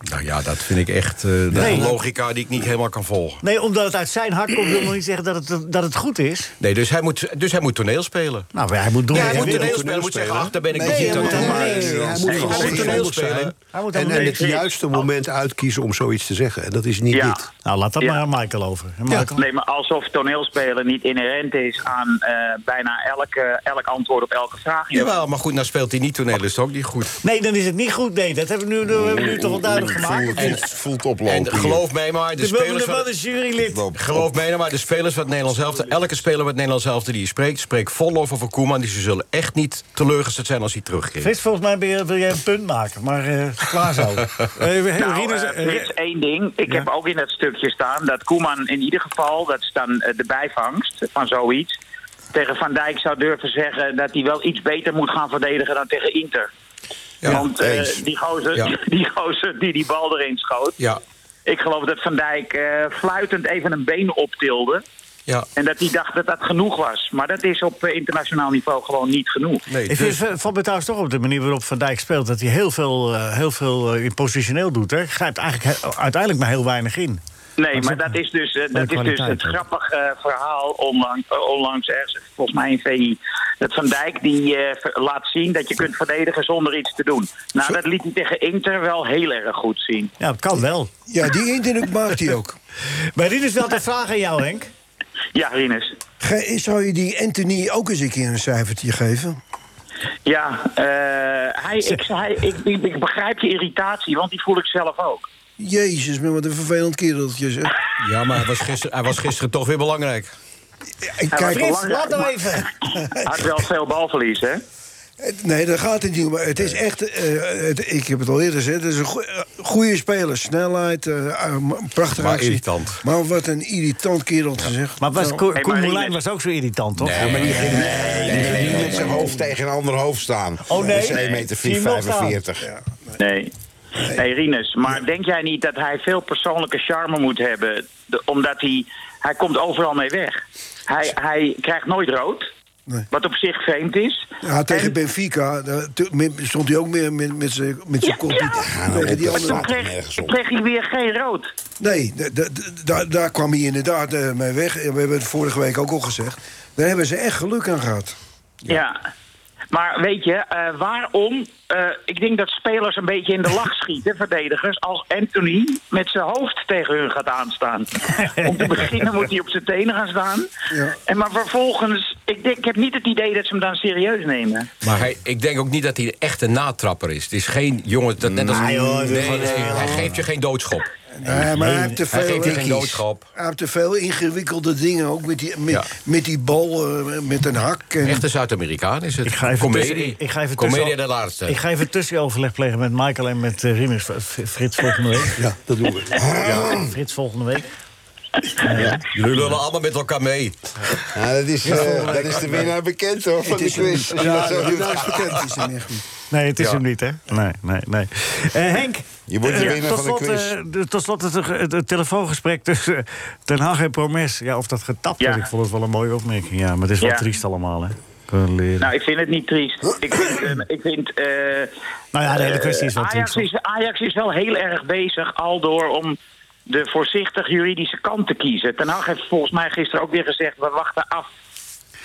Nou ja, dat vind ik echt eh, dat Nee. is een logica die ik niet helemaal kan volgen. Nee, omdat het uit zijn hart komt, wil nog niet zeggen dat het, dat het goed is. Nee, dus hij moet, dus hij moet toneel spelen. Nou, hij moet doen Ja, wat hij moet wil. toneel spelen. Hij moet zeggen, ach, daar ben ik Nee, nog hij niet aan moet toe. helemaal Nee, niks. Hij moet moet gewoon toneel verstandig spelen. zijn. Hij moet En, helemaal en niks. het juiste moment uitkiezen om zoiets te zeggen. En dat is niet Ja. dit. Nou, laat dat Ja. maar aan Michael over. Hè, Michael? Nee, maar alsof toneelspelen niet inherent is aan eh, bijna elke, elk antwoord op elke vraag. Jawel, maar goed, nou speelt hij niet toneel, is het ook niet goed. Nee, dan is het niet goed. Nee, dat hebben we nu, dat hebben we nu toch wel duidelijk gemaakt. Voelt, het voelt En oplopen geloof mij maar, de Dus we hebben spelers... nog Van, wel een jurylid. geloof mij nou maar, de spelers van het Nederlands elftal... elke speler van het Nederlands elftal die je spreekt... spreekt vol over voor Koeman. Die ze zullen echt niet teleurgesteld zijn als hij terugkeert. Frits, volgens mij ben je- wil jij een punt maken, maar eh, klaar zo. Eh, heel Nou, Rieders- eh, Frits, één ding. Ik heb ook in dat stukje staan dat Koeman in ieder geval, dat is dan eh, de bijvangst van zoiets, tegen Van Dijk zou durven zeggen dat hij wel iets beter moet gaan verdedigen dan tegen Inter. Want eh, eens. die, gozer, Ja. die gozer die die bal erin schoot, Ja, ik geloof dat Van Dijk eh, fluitend even een been optilde. ja. En dat hij dacht dat dat genoeg was. Maar dat is op eh, internationaal niveau gewoon niet genoeg. Nee, Ik dus- vind, valt me trouwens toch op de manier waarop Van Dijk speelt... dat hij heel veel, eh, heel veel eh, positioneel doet. Hè. Grijpt eigenlijk he- uiteindelijk maar heel weinig in. Nee, Maar maar zo- dat is dus, eh, maar dat de is dus kwaliteit het ook. grappige eh, verhaal onlangs, onlangs ergens, volgens mij in VI. Dat Van Dijk die eh, ver- laat zien dat je kunt verdedigen zonder iets te doen. Nou, dat liet hij tegen Inter wel heel erg goed zien. Ja, het kan wel. Ja, die indruk maakt hij ook. Maar dit is wel de vraag aan jou, Henk. Ja, Rinus. Ge- zou je die Anthony ook eens een keer een cijfertje geven? Ja, eh, hij, ik, hij, ik, ik, ik begrijp je irritatie, want die voel ik zelf ook. Jezus, maar wat een vervelend kereltje zeg. Ja, maar hij was, gisteren, hij was gisteren toch weer belangrijk. Ik kijk, Frits, Laat hem even. Hij had wel veel balverlies, hè? Het- Eh, Nee, dat gaat het niet. om. Maar het is echt, eh, het- ik heb het al eerder gezegd, het is een goe- eh, goede speler. Snelheid, eh, eh, ma- prachtige Maar actie. irritant. Maar wat een irritant kerel te zeggen. Maar was, Nou. Ko- Koen Moulijn was ook zo irritant, toch? Ja, maar die ging die ging niet met zijn hoofd tegen een ander hoofd staan. Oh, nee? Dat is 1,45 Nee. meter. Zie je hem nog staan? Nee. Hey Rinus, maar denk jij niet dat hij veel persoonlijke charme moet hebben? De- omdat hij, hij komt overal mee weg. Hij, hij krijgt nooit rood, wat op zich vreemd is. Ja, tegen Benfica daar tu- met- stond hij ook meer met, met zijn met zijn kop. niet tegen die maar andere- toen kreeg, kreeg hij weer geen rood. Nee, da- da- da- daar kwam hij inderdaad eh, mee weg. We hebben het vorige week ook al gezegd. Daar hebben ze echt geluk aan gehad. Ja. Maar weet je, eh, waarom? eh, ik denk dat spelers een beetje in de lach schieten, verdedigers, als Anthony met zijn hoofd tegen hun gaat aanstaan. Om te beginnen moet hij op zijn tenen gaan staan. En maar vervolgens, ik, denk, ik heb niet het idee dat ze hem dan serieus nemen. Maar hij, ik denk ook niet dat hij echt een natrapper is. Het is geen jongen... Dat, net als, Nee, hoor, nee, dat is nee, gewoon- nee, hij geeft je geen doodschop. Nee, maar hij heeft te Hij veel, geeft je geen tikkies. doodschop. Hij heeft te veel ingewikkelde dingen. Ook met die, met, Ja. met die bal, eh, met een hak. En... Echte Zuid-Amerikaan is het. Ik ga even Comedie. tussen- ik- Ik ga even Comedie tussen- de laatste. Ik ga even tussenoverleg plegen met Michael en met eh, Rinus. V- Frits volgende week. Ja, dat doen we. Ja. Frits volgende week. Jullie lullen allemaal met elkaar mee. Ja, dat, is, eh, dat is de winnaar bekend hoor, van Het de is hem quiz. niet. Ja, de winnaar is bekend, is hem echt niet. Nee, het is Ja. hem niet, hè? Nee, nee, nee. Eh, Henk. Je wordt de eh, winnaar tot van de slot, quiz. eh, de- tot slot het, het, het telefoongesprek tussen eh, Ten Hag en Promes. Ja, of dat getapt werd, ik vond het wel een mooie opmerking. Ja, maar het is wel Ja. triest allemaal, hè? Kunnen leren. Nou, ik vind het niet triest. Ik vind, eh, ik vind eh, Nou ja, de hele kwestie is wel eh, Ajax triest, is, Ajax is wel heel erg bezig, al door om de voorzichtig juridische kant te kiezen. Ten Hag heeft volgens mij gisteren ook weer gezegd, we wachten af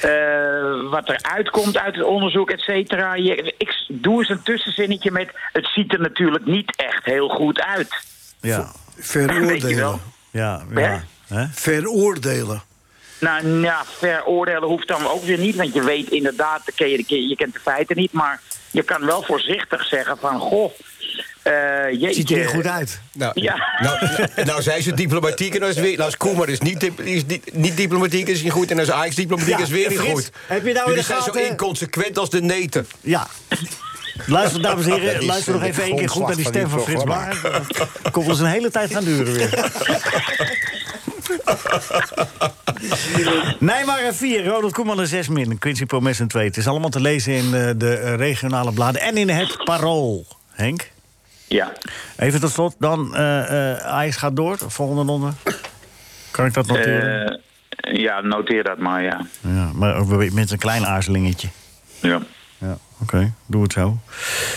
eh, wat er uitkomt uit het onderzoek, et cetera. Je- Ik s- doe eens een tussenzinnetje met, het ziet er natuurlijk niet echt heel goed uit. Ja. Nou, Weet je wel. Veroordelen. Ja, ja. Veroordelen. Nou, nou, veroordelen hoeft dan ook weer niet, want je weet inderdaad, ken je, ken je, je kent de feiten niet, maar je kan wel voorzichtig zeggen van, goh, eh jeetje. Ziet er goed uit. Nou, Ja. nou, nou, nou zijn ze diplomatiek en nou is, weer, nou is Koeman is niet, dip- is niet, niet diplomatiek is niet goed... en als Ajax diplomatiek Ja, is weer niet Frits, goed. heb je nou in Jullie de zijn zo gaten- inconsequent als de neten. Ja. Luister, dames en Dat heren, is, eh, luister nog de even één keer goed naar die stem van grondslag Frits van dit Baar. Dat Kon ons een hele tijd gaan duren weer. Nijmegen 4, eh, Ronald Koeman een 6 min, Quincy Promes een 2. Het is allemaal te lezen in eh, de eh, regionale bladen en in het Parool, Henk. Ja. Even tot slot, dan eh eh Ajax gaat door, volgende ronde. Kan ik dat noteren? Eh, ja, noteer dat maar, ja. Ja, maar ook weer met een klein aarzelingetje. Ja. Ja, oké, doe het zo.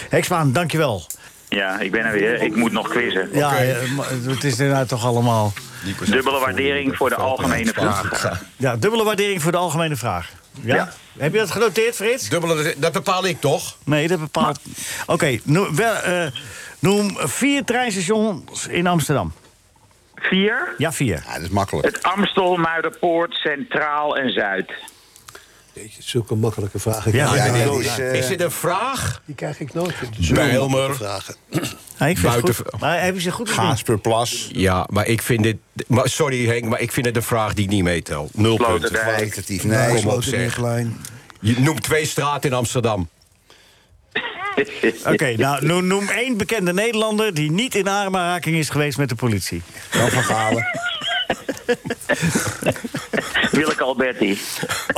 Heksmaan, dankjewel. Ja, ik ben er weer. Ik moet nog quizzen. Ja, eh, maar het is inderdaad toch allemaal... Dubbele waardering voor de algemene ploeg. Ja, dubbele waardering voor de algemene vraag. Ja? Ja. Heb je dat genoteerd, Frits? Dubbele, dat bepaal ik toch? Nee, dat bepaalt... Oké, noem, wel, eh, noem vier treinstations in Amsterdam. Vier? Ja, vier. Ja, Ah, dat is makkelijk. Het Amstel, Muiderpoort, Centraal en Zuid. Zulke makkelijke vragen. Ja, krijg ik ja, nooit. die is, Is dit een vraag? Die krijg ik nooit. Bijlmer. Zulke makkelijke vragen. Ja, ik vind het Buiten- goed. Maar hebben ze goed gedaan? Gaasperplas. Ja, maar ik vind dit... Maar sorry Henk, maar ik vind het een vraag die ik niet meetel. Nul punten. Sloterdijk. Kwalitatief. Nee, Nee, kom op, Sloterdijk zeg. Lijn. Je noemt twee straten in Amsterdam. Oké, nou, noem, noem één bekende Nederlander... die niet in aanraking is geweest met de politie. dan van Galen. Willeke Alberti.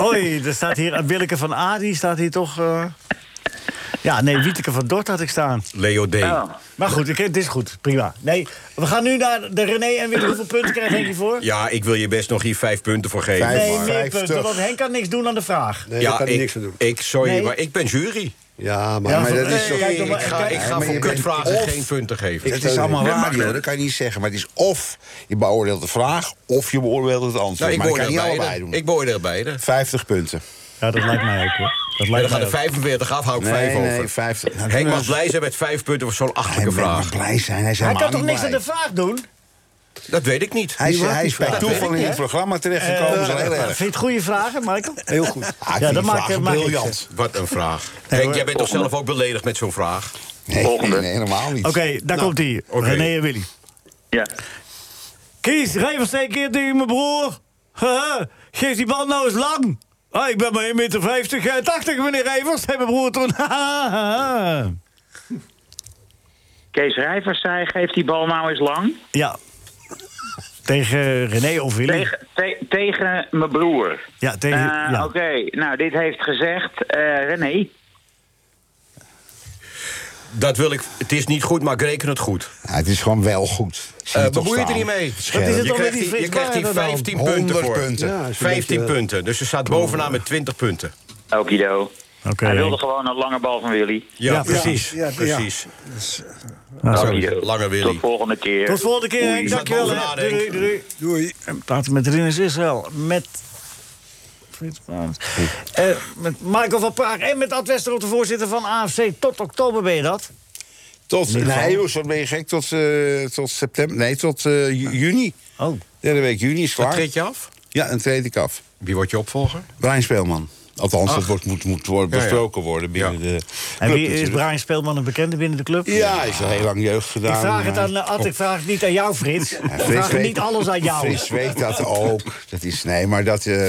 Oei, er staat hier... eh, Willeke van A, die staat hier toch... eh? Ja, nee, Wieteke van Dort had ik staan. Leo D. Oh. Maar goed, ik, het is goed. Prima. Nee, we gaan nu naar de René en Willeke. Hoeveel punten krijgt Henk hiervoor? Ja, ik wil je best nog hier vijf punten voor geven. Vijf. Nee, maar. meer 50. punten, want Henk kan niks doen aan de vraag. Nee, ja, daar kan ik ik, niks aan doen. ik, sorry, Nee. maar ik ben jury. Ja, maar, Ja, maar van- dat is nee, zo. kijk nog ik maar- ga, kijk- ik ga maar voor je bent kutvragen of- geen punten geven. Dat is allemaal waar, joh. Dat kan je niet zeggen. Maar het is of je beoordeelt de vraag... of je beoordeelt het antwoord. Nou, ik maar ik kan beoordeel niet allebei beide. doen. Ik beoordeel beide. 50 punten. Ja, dat lijkt mij ook, hoor. Dat En lijkt dan gaan mij er ook. 45 af, hou ik eh, Nee, vijf nee, over. 50. Nou, Henk kunnen mag we- blij zijn met vijf punten voor zo'n Hij achterlijke mag vraag. blij zijn. Hij, is Hij kan helemaal toch niet niks aan blij. de vraag doen? Dat weet ik niet. Hij is, Die hij maakt is die bij vraag. toeval in dit programma terechtgekomen. dat is heel erg. Eh, Vind je het goede vragen, Michael? Heel goed. Ah, Ja, ja, dat dat maakt- maakt maakt niks briljant. Wat een vraag. Henk, jij bent toch zelf ook beledigd met zo'n vraag? Nee, nee, nee, helemaal niet. Oké, daar komt hij. oké. René en Willy. Ja. Kies, geef eens een keer tegen mijn broer. Haha, Geef die bal nou eens lang. Ah, ik ben maar 1,50 meter 80, meneer Evers. Hé, mijn broer toen. Kees Rijvers zei, geef die bal nou eens lang. ja. Tegen René of Willy. Tegen, te- tegen mijn broer. Ja, tegen- Eh, ja. Oké, nou, dit heeft gezegd eh René. Dat wil ik. Het is niet goed, maar ik reken het goed. het is gewoon wel goed. Eh, bemoei je er niet mee. je krijgt die hier- je krijgt hier 15 punten voor. 15 punten. Dus ze staat bovenaan met 20 punten. Okido. Hij wilde Henk. gewoon een lange bal van Willy. Ja, Ja, precies. ja, dus, eh, ja. Precies. Okido. Lange Willy. Tot volgende keer. Tot volgende keer, Henk. Oei. Dankjewel. hè. Doei, doei. doei. En praten met Rinus Israël. Met... Frits Barend. Eh, met Michael van Praag en met Ad Westerhof, de voorzitter van AFC. Tot oktober ben je dat. Tot, In ieder geval. nee, joh, zo ben je gek. Tot, eh, tot september. Nee, tot eh, ju- juni. Oh. Derde week juni is klaar. Dan treed je af? Ja, dan treed ik af. Wie wordt je opvolger? Brian Speelman. Althans, Ach. dat wordt, moet, moet worden Ja, ja. besproken worden binnen de. En club wie is natuurlijk. Brian Speelman een bekende binnen de club? Ja, hij is al heel lang jeugd gedaan. Ik vraag het maar- aan eh, Ad, ik vraag het niet aan jou, Frits. Ik Ja, vraag het weet- niet alles aan jou. Frits weet dat ook. Dat is, nee, maar dat... eh,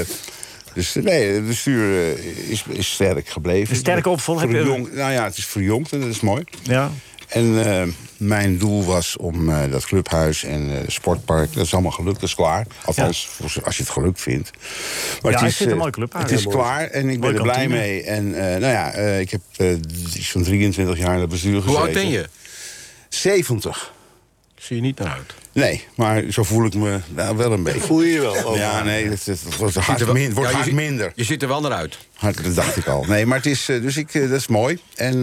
dus nee, het bestuur eh, is, is sterk gebleven. Een sterke opvolger Voor heb je- jong- Nou ja, het is verjongd en dat is mooi. Ja. En eh, mijn doel was om eh, dat clubhuis en eh sportpark... dat is allemaal gelukt, dat is klaar. Althans, voor- als je het geluk vindt. Ja, ik het is, vind het een eh, mooi clubhuis. Het is Ja, mooi. klaar en ik ben Mooie er blij kantine. mee. En eh, nou ja, eh, ik heb eh, zo'n 23 jaar in het bestuur gezeten. Hoe oud ben je? 70. Zie je niet naar uit. Nee, maar zo voel ik me nou, wel een beetje. Voel je je Oh, wel? Ja, nee, het, het wordt hard, Ziet er wel- min- wordt Ja, je hard ziet- minder. Je ziet er wel naar uit. Hard, dat dacht ik al. Nee, maar het is, eh, dus ik, eh, dat is mooi. En eh,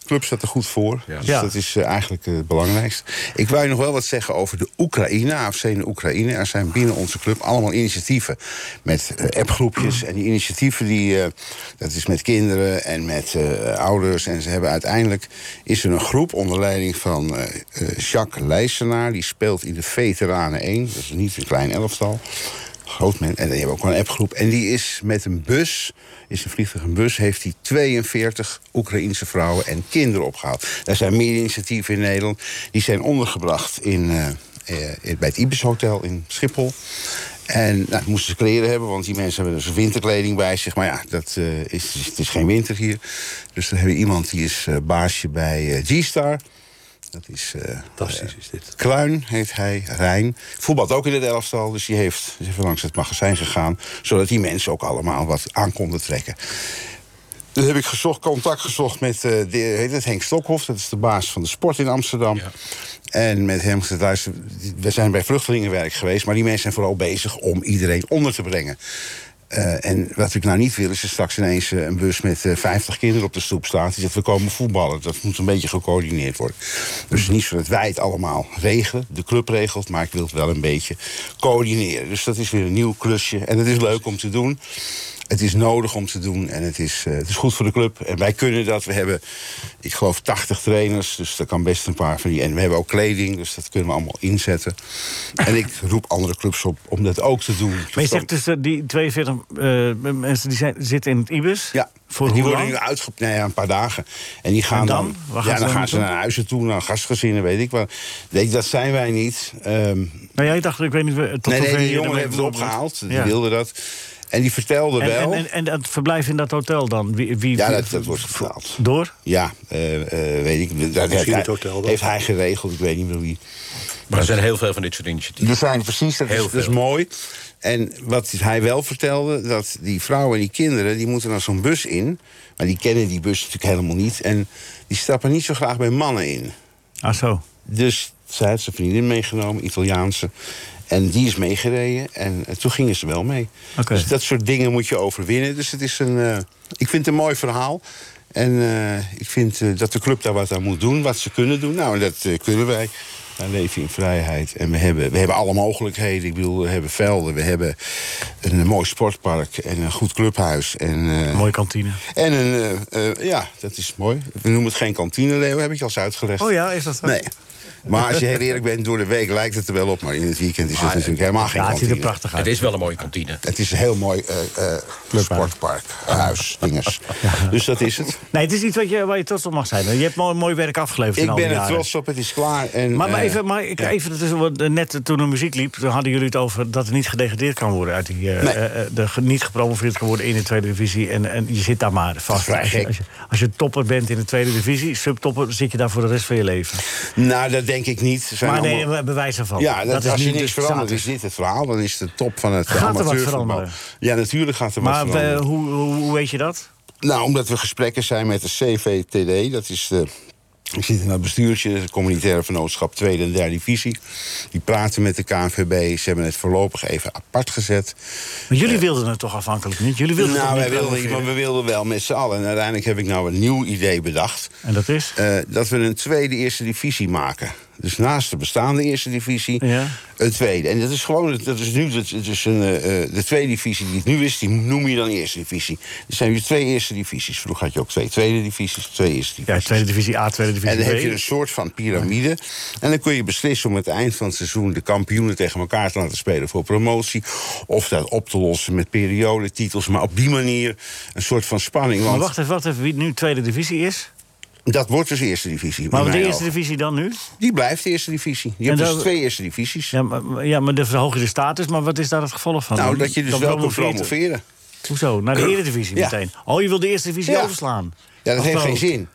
de club staat er goed voor. Dus Ja. dat is eh, eigenlijk eh, het belangrijkste. Ik wou je nog wel wat zeggen over de Oekraïne, AFC in de Oekraïne. Er zijn binnen onze club allemaal initiatieven met eh, appgroepjes. En die initiatieven, die, eh, dat is met kinderen en met eh, ouders. En ze hebben uiteindelijk, is er een groep onder leiding van eh, eh, Jacques Leijsenaar. Die speelt in de Veteranen 1, dat is niet een klein elftal groot men. En die hebben ook wel een appgroep. En die is met een bus, is een vliegtuig, een bus, heeft die 42 Oekraïense vrouwen en kinderen opgehaald. Er zijn meer initiatieven in Nederland. Die zijn ondergebracht in, eh, eh, in- bij het Ibis Hotel in Schiphol. En nou, dan moesten ze kleren hebben, want die mensen hebben dus winterkleding bij zich. Maar ja, dat, eh, is, het is geen winter hier. Dus dan hebben we iemand die is eh, baasje bij eh, G-Star. Dat is. eh, Fantastisch is dit. Kluin heet hij, Rijn. Voetbalt ook in het elftal, dus die heeft, is even langs het magazijn gegaan. Zodat die mensen ook allemaal wat aan konden trekken. Toen heb ik gezocht, contact gezocht met eh, de, heet het, Henk Stokhoff, dat is de baas van de sport in Amsterdam. En met hem gezegd, luister, we zijn bij vluchtelingenwerk geweest, maar die mensen zijn vooral bezig om iedereen onder te brengen. Eh, en wat ik nou niet wil, is er straks ineens eh, een bus met eh, 50 kinderen op de stoep staat. Die zegt, we komen voetballen. Dat moet een beetje gecoördineerd worden. Dus niet zo dat wij het allemaal regelen. De club regelt, maar ik wil het wel een beetje coördineren. Dus dat is weer een nieuw klusje. En het is leuk om te doen. Het is nodig om te doen en het is, eh, het is goed voor de club. En wij kunnen dat. We hebben, ik geloof, 80 trainers, dus daar kan best een paar van die. En we hebben ook kleding, dus dat kunnen we allemaal inzetten. En ik roep andere clubs op om dat ook te doen. Maar je zegt dus eh, die 42 eh, mensen die zijn, zitten in het Ibis? Ja. Voor die hoe worden lang? nu uitgepakt, nou ja, een paar dagen. En die gaan En dan? dan, Waar gaan ja, ze dan dan gaan ze naartoe? naar huizen toe, naar gastgezinnen, weet ik wat. Nee, dat zijn wij niet. Ehm, Nou ja, ik dacht, ik weet niet eh, tot nee, nee, hoever die je jongen ermee heeft het verbonden opgehaald, bent. die Ja. wilde dat. En die vertelde En, wel. en, en, en het verblijf in dat hotel dan? Wie, wie, ja, dat, dat wordt betaald. Door? Ja, eh, eh, weet ik. Dat heeft, het hij- hotel dan? heeft hij geregeld, ik weet niet meer wie. Maar er zijn heel veel van dit soort initiatieven. Er zijn precies, dat is, Heel dat is veel. mooi. En wat hij wel vertelde, dat die vrouwen en die kinderen... die moeten naar zo'n bus in. Maar die kennen die bus natuurlijk helemaal niet. En die stappen niet zo graag bij mannen in. Ah zo. Dus zij had zijn vriendin meegenomen, Italiaanse. En die is meegereden. En eh, toen gingen ze wel mee. Oké. Dus dat soort dingen moet je overwinnen. Dus het is een, eh, ik vind het een mooi verhaal. En eh, ik vind eh, dat de club daar wat aan moet doen. Wat ze kunnen doen. Nou, en dat eh, kunnen wij. Wij leven in vrijheid. En we hebben, we hebben alle mogelijkheden. Ik bedoel, we hebben velden. We hebben een mooi sportpark. En een goed clubhuis. En, eh, Mooie kantine. en een, eh, eh, ja, dat is mooi. We noemen het geen kantine, Leo. Heb ik je al eens uitgelegd. Oh ja, is dat zo? Nee. Maar als je heel eerlijk bent, door de week lijkt het er wel op. Maar in het weekend is het natuurlijk helemaal geen kantine. Het is wel een mooie kantine. Het is een heel mooi eh, eh, sportpark, huis, dinges. Dus dat is het. Nee, het is iets wat je, waar je trots op mag zijn. Je hebt mooi, mooi werk afgeleverd in Ik al ben die er jaren. trots op, het is klaar. En, Maar, maar eh, even, maar ik, ja. even dat is wat, eh, net toen de muziek liep, toen hadden jullie het over dat er niet gedegradeerd kan worden uit die, eh, Nee. eh, eh, de, ge- niet gepromoveerd kan worden in de tweede divisie. En, en je zit daar maar vast. vrij als, je, gek. als, je, als je topper bent in de tweede divisie, subtopper, zit je daar voor de rest van je leven. Nou, dat denk ik niet. Ze Zijn maar nee, allemaal- we- bewijs ervan. Ja, dat, is als je niet niks dus verandert, status. is dit het verhaal. Dan is de top van het Gaat er wat amateurvoetbal. veranderen? Ja, natuurlijk gaat er Maar wat eh, veranderen. hoe, hoe, hoe weet je dat? Nou, omdat we gesprekken zijn met de CVTD, dat is de. Ik zit in dat bestuurtje, het communitaire vennootschap tweede en derde divisie. Die praten met de KNVB. Ze hebben het voorlopig even apart gezet. Maar jullie wilden het toch afhankelijk niet? Jullie wilden nou, het wij niet wilden niet, promoveren? maar we wilden wel met z'n allen. En uiteindelijk heb ik nou een nieuw idee bedacht. En dat is? Eh, dat we een tweede eerste divisie maken. Dus naast de bestaande eerste divisie, Ja. een tweede. En dat is gewoon, dat is nu, dat dat is een, eh, eh, de tweede divisie die het nu is, die noem je dan eerste divisie. Er zijn nu twee eerste divisies. Vroeger had je ook twee tweede divisies, twee eerste divisies. Ja, tweede divisie A, tweede divisie En dan B. heb je een soort van piramide. En dan kun je beslissen om het eind van het seizoen de kampioenen tegen elkaar te laten spelen voor promotie. Of dat op te lossen met periodetitels. Maar op die manier een soort van spanning. Maar Want wacht even, wacht even, wie nu tweede divisie is? dat wordt dus eerste divisie. in Maar de mijn eerste ogen. divisie dan nu? Die blijft de eerste divisie. Je En hebt dus dat- twee eerste divisies. Ja, maar, ja, maar dan verhoog je de status, maar wat is daar het gevolg van? nou, dat je dus Dan wel kunt promoveert- promoveren. Hoezo? Naar de Eredivisie Ja. meteen? Oh, je wil de Eerste Divisie Ja. overslaan? Ja, dat Of heeft wel? geen zin.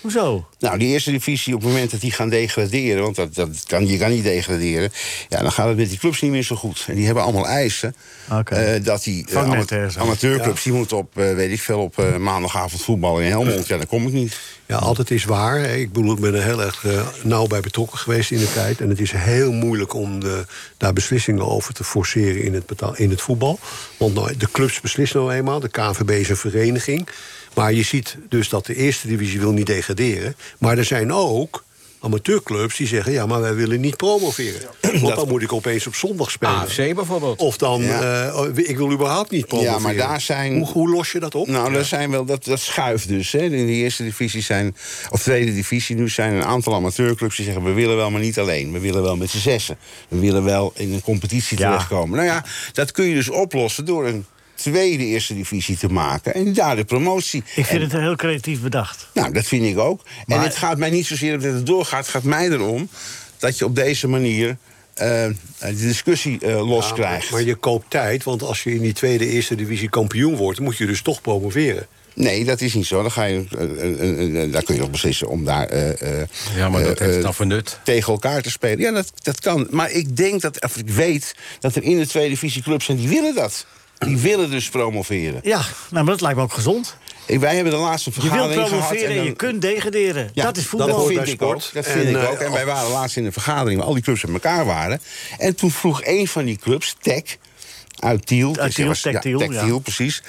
Hoezo? Nou, die eerste divisie, op het moment dat die gaan degraderen... want dat, dat kan, je kan niet degraderen... Ja, dan gaat het met die clubs niet meer zo goed. En die hebben allemaal eisen. eh, dat die eh, Vangnet ama- ergens. amateurclubs... die moeten op, eh, weet ik veel, op eh, maandagavond voetballen in Helmond. Ja, dan kom ik niet. Ja, altijd is waar. hè. Ik bedoel, ik ben er heel erg eh, nauw bij betrokken geweest in de tijd. En het is heel moeilijk om de, daar beslissingen over te forceren in het, betaal, in het voetbal. Want nou, de clubs beslissen nou eenmaal, de KNVB is een vereniging. Maar je ziet dus dat de eerste divisie wil niet degraderen. Maar er zijn ook amateurclubs die zeggen... ja, maar wij willen niet promoveren. Want dan moet ik opeens op zondag spelen. AFC bijvoorbeeld. Of dan, eh, oh, ik wil überhaupt niet promoveren. Ja, maar daar zijn... Hoe, hoe los je dat op? Nou, daar zijn wel, dat, dat schuift dus. Hè. In de eerste divisie zijn, of tweede divisie nu zijn een aantal amateurclubs die zeggen: we willen wel, maar niet alleen. We willen wel met z'n zessen. We willen wel in een competitie Ja. terechtkomen. Nou ja, dat kun je dus oplossen door een tweede eerste divisie te maken en daar de promotie. Ik vind En- het heel creatief bedacht. nou, dat vind ik ook. En Maar- het gaat mij niet zozeer om dat het doorgaat. Het gaat mij erom dat je op deze manier eh, de discussie eh, los Ja, krijgt. Nou, Maar je koopt tijd, want als je in die tweede eerste divisie kampioen wordt, moet je dus toch promoveren. Nee, dat is niet zo. Dan, ga je, eh, eh, eh, eh, daar kun je nog beslissen om daar eh, eh, Ja, maar dat eh, heeft eh, dan voor nut. tegen elkaar te spelen. Ja, dat, dat kan. Maar ik denk dat, of ik weet dat er in de tweede divisie clubs zijn die willen dat. Die willen dus promoveren. Ja, nou, maar dat lijkt me ook gezond. Ik- Wij hebben de laatste Je wilt vergadering gehad. promoveren en, dan- je kunt degraderen. Ja, dat is voetbal. Dat hoort vind bij ik sport. ook. Dat vind En, ik eh, ook. En oh. wij al- waren laatst in een vergadering waar al die clubs met elkaar waren. En toen vroeg een van die clubs, Tech, uit Tiel. Uit ik Tiel, was- Tech Tiel, Tech ja. Tiel, precies.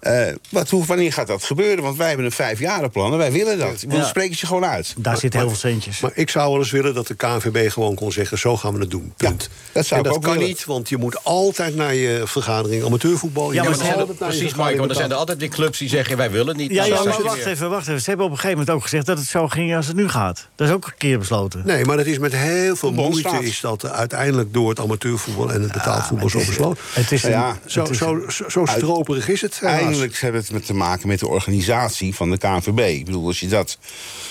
Eh, wat, hoe, wanneer gaat dat gebeuren? Want wij hebben een vijfjarenplan en wij willen dat. Ik bedoel, Ja. Dan spreek je ze gewoon uit. Daar zitten heel veel centjes. Maar ik zou wel eens willen dat de KNVB gewoon kon zeggen: zo gaan we het doen. Punt. dat zou en ik dat ook kan willen. niet, want je moet altijd naar je vergadering amateurvoetbal. je Ja, maar moet ze hebben- altijd naar je Precies, Michael, vergadering maar er zijn er altijd weer clubs die zeggen: wij willen niet. ja, Nou, ja, dat maar is wacht weer- even, wacht even. Ze hebben op een gegeven moment ook gezegd dat het zo ging als het nu gaat. Dat is ook een keer besloten. Nee, maar dat is met heel veel Bondsraad. moeite is dat eh, uiteindelijk door het amateurvoetbal en het betaalvoetbal zo besloten. Nou Het is een- Ja, Zo, het is zo, zo, zo stroperig is het. helaas. Eindelijk hebben we het met te maken met de organisatie van de KNVB. Ik bedoel, als je dat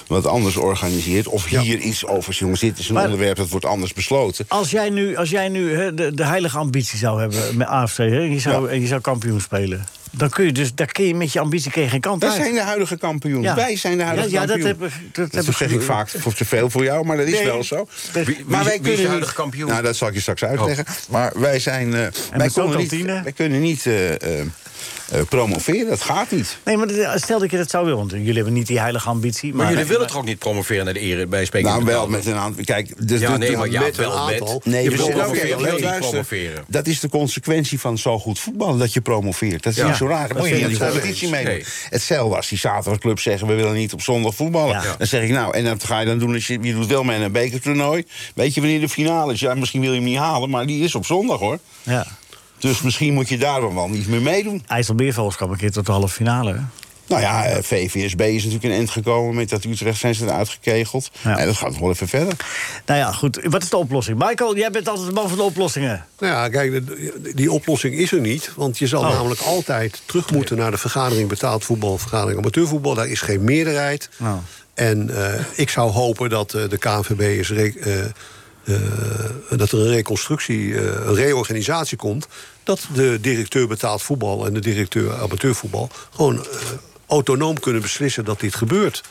wat anders organiseert... of hier iets over, jongens, dit is een Maar- onderwerp... dat wordt anders besloten. Als jij nu, als jij nu hè, de, de heilige ambitie zou hebben met AFC, hè, en je, zou, en je zou kampioen spelen, dan kun je dus, daar kun je met je ambitie kun je geen kant Dat uit. zijn de huidige kampioenen. Ja. Wij zijn de huidige Ja, ja, dat kampioen. heb ik- dat heb ik zeg ge- ik vaak voor te veel voor jou, maar dat is Nee. wel zo. Wie- wie maar is- wie is de niet- huidige kampioen? Nou, dat zal ik je straks uitleggen. Maar wij zijn. eh, wij, met zo'n kunnen niet, kantine? wij kunnen niet eh, eh, eh, promoveren. Dat gaat niet. Nee, maar eh, stel dat je dat zou willen, want jullie hebben niet die heilige ambitie. Maar, Maar jullie willen toch ook niet promoveren naar de ere bij spreken? Nou, wel met een aantal. Kijk, dus Ja, dus- nee, maar ja, met een wel aantal. met. Nee, je we wil zitten- promoveren, je oké, wil oké, niet luister. promoveren. Dat is de consequentie van zo goed voetballen dat je promoveert. Dat is Ja. niet zo raar. Dan moet je vind in die ik wel competitie eens. mee. Nee. Hetzelfde als die zaterdagclub zeggen: we willen niet op zondag voetballen. Ja. Dan zeg ik nou, en dat ga je dan doen als je, je doet wel mee naar een bekertoernooi. Weet je wanneer de finale is? Ja, misschien wil je hem niet halen, maar die is op zondag hoor. Ja. Dus misschien moet je daar dan wel niet meer meedoen. IJsselbeervogels kwam een keer tot de halve finale. hè? Nou ja, eh, VVSB is natuurlijk een eind gekomen met dat Utrecht zijn ze eruit gekegeld. En dat gaat nog wel even verder. Nou ja, goed. Wat is de oplossing? Michael, jij bent altijd de man van de oplossingen. Nou ja, kijk, de- die oplossing is er niet. Want je zal Oh. namelijk altijd terug moeten naar de vergadering betaald voetbal, vergadering amateurvoetbal. Daar is geen meerderheid. En eh, ik zou hopen dat eh, de KNVB eens re- eh, eh, dat er een reconstructie, eh, een reorganisatie komt. Dat de directeur betaald voetbal en de directeur amateurvoetbal gewoon eh, autonoom kunnen beslissen dat dit gebeurt.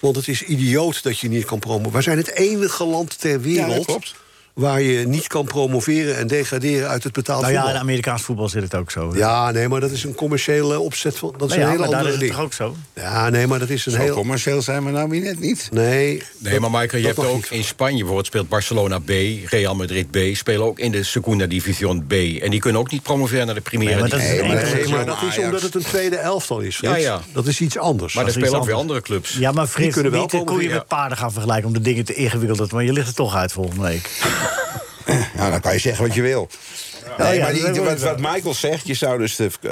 Want het is idioot dat je niet kan promoveren. Wij zijn het enige land ter wereld klopt. waar je niet kan promoveren en degraderen uit het betaald Nou ja, in voetbal. Amerikaans voetbal zit het ook zo. hè? Ja, nee, maar dat is een commerciële opzet. Van, dat is Nou ja, een maar hele daar andere is het ding. toch ook zo? Ja, nee, maar dat is een Zo heel... commercieel zijn we nou weer net niet. Nee. Nee, maar Michael, je hebt ook in Spanje bijvoorbeeld speelt Barcelona B, Real Madrid B, spelen ook in de Segunda División B. En die kunnen ook niet promoveren naar de Primera Nee, maar dat is, División. maar dat is omdat het een tweede elftal is. Frits. Ah, Ja, ja. Dat is iets anders. Maar er dat spelen ook weer andere clubs. Ja, maar Die Frits, kunnen wel niet de koeien promoveren. met paarden gaan vergelijken... om de dingen te ingewikkeld te want je ligt er toch uit volgende week. Nou, dan kan je zeggen wat je wil. Oh Nee, ja, maar die- dat wat, hebben we wat Michael zegt, je zou dus de, eh,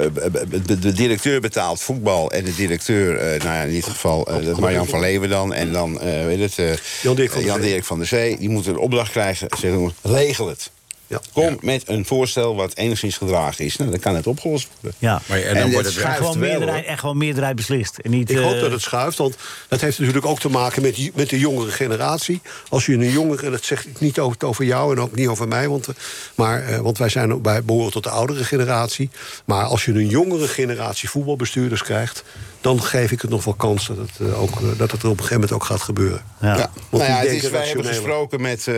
de, de directeur betaalt voetbal en de directeur, eh, nou ja, in dit geval eh, dat Marjan van Leeuwen dan en dan eh, weet het, Jan-Dirk van der Zee. Jan-Dirk van der Zee, die moeten een opdracht krijgen, zeggen jongens, regel het. Kom met een voorstel wat enigszins gedragen is. Nou, dan kan het opgelost worden. Ja. Maar ja, en dan wordt het En schuift gewoon, wel, meerderheid, en gewoon meerderheid beslist. En niet, Ik hoop eh, dat het schuift, want dat heeft natuurlijk ook te maken met, die- met de jongere generatie. Als je een jongere, dat zeg ik niet over, over jou en ook niet over mij, want, eh, maar, eh, want wij zijn, ook- wij behoren tot de oudere generatie. Maar als je een jongere generatie voetbalbestuurders krijgt, dan geef ik het nog wel kans dat het, eh, ook, eh, dat het er op een gegeven moment ook gaat gebeuren. Ja. die Nou ja, het denken is, wij hebben rationeler. gesproken met eh,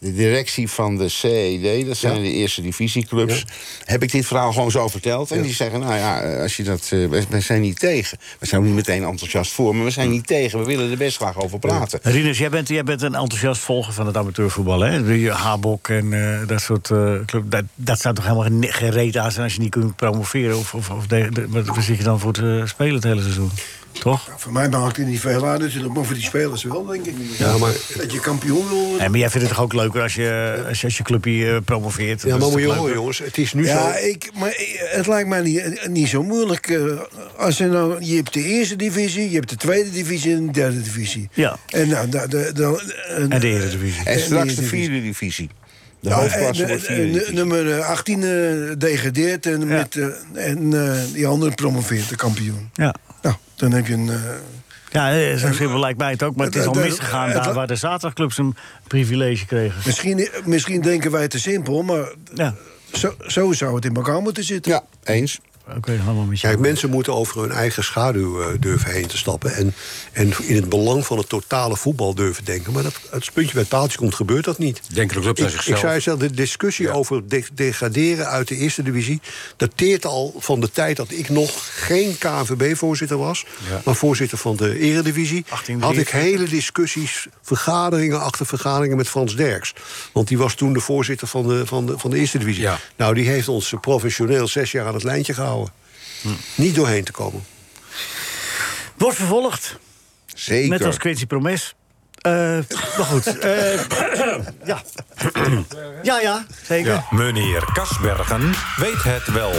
de directie van de CED, dat zijn de eerste divisieclubs. Heb ik dit verhaal gewoon zo verteld? En die zeggen, nou ja, eh, als je dat, eh, wij, wij zijn niet tegen. We zijn niet meteen enthousiast voor, maar we zijn niet tegen. We willen er best graag over praten. Rinus, jij bent, jij bent een enthousiast volger van het amateurvoetbal, hè? Die Habok en eh, dat soort eh club. Dat, dat staat toch helemaal geen- geen reet aan zijn als je niet kunt promoveren? Of, of, of de, de- wat wat zit je dan voor te spelen het hele seizoen? Toch? Voor mij maakt het niet veel uit natuurlijk, maar voor die spelers wel, denk ik. Ja, maar- Dat je kampioen wil worden. Nee, maar jij vindt het toch ook leuker als je als je, als je clubje eh, promoveert? Ja, Dat maar is moet je toch horen, leuker? jongens, het is nu ja, zo. Ik, maar het lijkt mij niet, niet zo moeilijk. eh, Als je, nou, je hebt de eerste divisie, je hebt de tweede divisie en de derde divisie. Ja. En, nou, da- da- da- en, En de Eredivisie. En straks de Eredivisie. vierde divisie. De Nou, hoofdklasse en, wordt eh, vierde eh, divisie. nummer eh, 18 eh, degradeert en, met, eh, en eh, die andere promoveert de kampioen. Ja. Nou, dan heb je een. eh, Ja, eh, zo simpel lijkt mij het ook. Maar eh, het is al Het- het- misgegaan het- daar waar de zaterdagclubs een privilege kregen. misschien, misschien denken wij te simpel, maar Ja. zo, zo zou het in elkaar moeten zitten. Ja, eens. Oké, helemaal met Dus Kijk, mensen moeten over hun eigen schaduw eh, durven heen te stappen. En, en in het belang van het totale voetbal durven denken. Maar dat, het puntje bij het paaltje komt, gebeurt dat niet. Denk er ook op naar ik, zichzelf. Ik zei zelf, de discussie over de- degraderen uit de eerste divisie... dateert al van de tijd dat ik nog geen KNVB-voorzitter was... Ja. maar voorzitter van de eredivisie... had ik 1843. hele discussies, vergaderingen achter vergaderingen met Frans Derks. Want die was toen de voorzitter van de, van de, van de eerste divisie. Nou, die heeft ons eh, professioneel zes jaar aan het lijntje gehouden. Niet doorheen te komen. Wordt vervolgd. Zeker. Net als Quincy Promes. Eh, maar goed. eh, ja. ja, ja, zeker. Ja. Meneer Kasbergen weet het wel.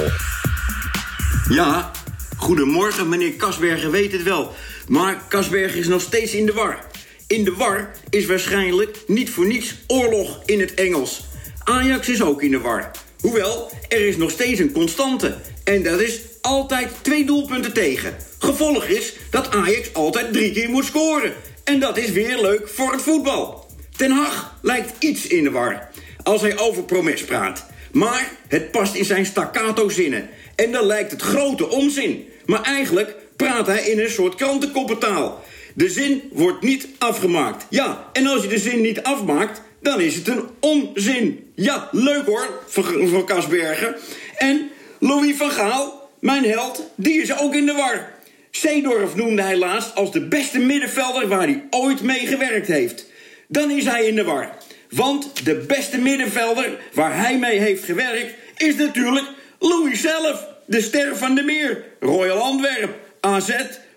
Ja, goedemorgen, meneer Kasbergen weet het wel. Maar Kasbergen is nog steeds in de war. In de war is waarschijnlijk niet voor niets oorlog in het Engels. Ajax is ook in de war. Hoewel, er is nog steeds een constante. En dat is altijd twee doelpunten tegen. Gevolg is dat Ajax altijd drie keer moet scoren. En dat is weer leuk voor het voetbal. Ten Hag lijkt iets in de war als hij over promes praat. Maar het past in zijn staccato zinnen. En dan lijkt het grote onzin. Maar eigenlijk praat hij in een soort krantenkoppentaal. De zin wordt niet afgemaakt. Ja, en als je de zin niet afmaakt, dan is het een onzin. Ja, leuk hoor, voor, voor Kasbergen. En Louis van Gaal, mijn held, die is ook in de war. Seedorf noemde hij laatst als de beste middenvelder waar hij ooit mee gewerkt heeft dan is hij in de war. Want de beste middenvelder waar hij mee heeft gewerkt is natuurlijk Louis zelf. De ster van de meer, Royal Antwerp, AZ,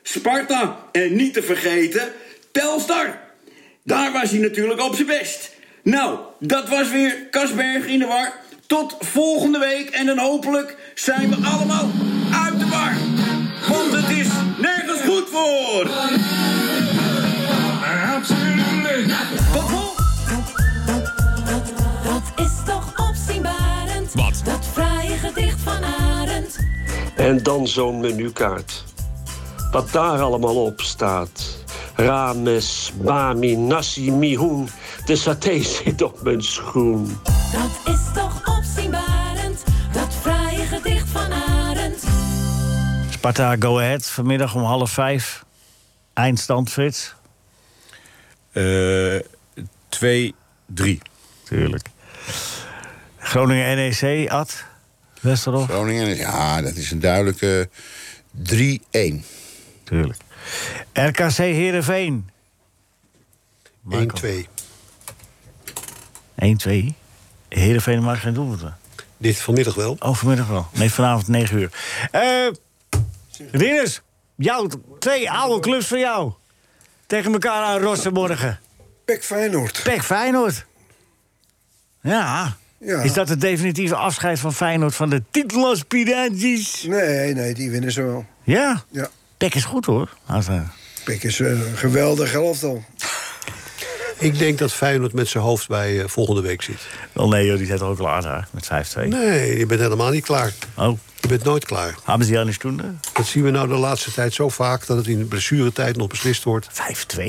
Sparta en niet te vergeten Telstar. Daar was hij natuurlijk op zijn best. Nou, dat was weer Kasberg in de war. Tot volgende week en dan hopelijk zijn we allemaal uit de war. Want het is... Nee! door! Dat is toch opzienbarend? Wat? Dat fraaie gedicht van Arend. En dan zo'n menukaart. Wat daar allemaal op staat. Rames, Bami, Nasi, Mihoen. De saté zit op mijn schoen. Dat is toch opzienbarend? Dat fraaie gedicht van Arend. Sparta Go Ahead, vanmiddag om half vijf. Eindstand, Frits? 2-3. Tuurlijk. Groningen NEC, Ad? Westerhof? Groningen, ja, dat is een duidelijke 3-1. Tuurlijk. RKC Heerenveen. 1-2. 1-2. Heerenveen maakt geen doelpunten. Dit vanmiddag wel? Oh, vanmiddag wel. Nee, vanavond 9 uur. Eh Rinus, jouw twee oude clubs van jou. Tegen elkaar aan rossen morgen. Pek Feyenoord. Pek Feyenoord. Ja. Ja. Is dat het definitieve afscheid van Feyenoord van de titelaspiranties? Nee, nee, die winnen ze wel. Ja? Ja. Pek is goed hoor. Als, eh, Pek is eh, een geweldig elftal. Ik denk dat Feyenoord met zijn hoofd bij eh, volgende week zit. Wel nee joh, die zijn toch al klaar daar, met 5-2? Nee, je bent helemaal niet klaar. Oh. Je bent nooit klaar. Hebben ze die al eens toen? Dat zien we nou de laatste tijd zo vaak... dat het in de blessuretijd nog beslist wordt. 5-2.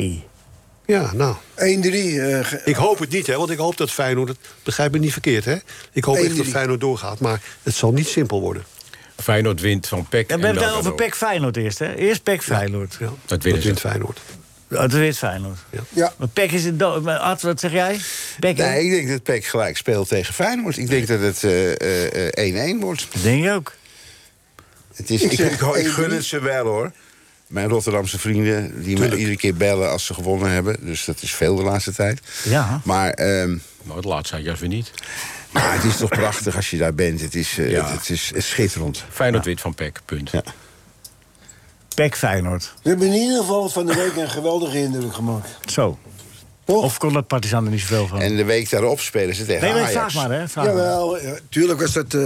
Ja, nou. 1-3. eh, ge- Ik hoop het niet, hè, want ik hoop dat Feyenoord... Het, begrijp me niet verkeerd, hè. Ik hoop echt dat 1-3. Feyenoord doorgaat, maar het zal niet simpel worden. Feyenoord wint van Peck Ja, en we hebben het Belgrado. over Pek Feyenoord eerst, hè? Eerst Pek Feyenoord. Ja, Dat winnen Dat wint ze. Feyenoord. Dat is Feyenoord. Ja. Maar Pek is het dood. maar Ad, wat zeg jij? Pek, hè? Nee, ik denk dat Peck gelijk speelt tegen Feyenoord. Ik denk dat het eh, eh, eh, 1-1 wordt. Dat denk je ook. Het is, Ik ik, ik, zeg ik 1-3. gun het ze wel, hoor. Mijn Rotterdamse vrienden, die me iedere keer bellen als ze gewonnen hebben. Dus dat is veel de laatste tijd. Ja. Maar, ehm, Nou, het laatste jaar juist weer niet. maar het is toch prachtig als je daar bent. Het is, eh, Ja. het, het is schitterend. Feyenoord wint van Peck, punt. Pek Feyenoord. We hebben in ieder geval van de week een geweldige indruk gemaakt. Zo. Of kon dat Partizan er niet zoveel van? En de week daarop spelen ze tegen Nee, nee, Ajax. vraag maar, hè? Vraag maar. Jawel, ja, tuurlijk was dat eh,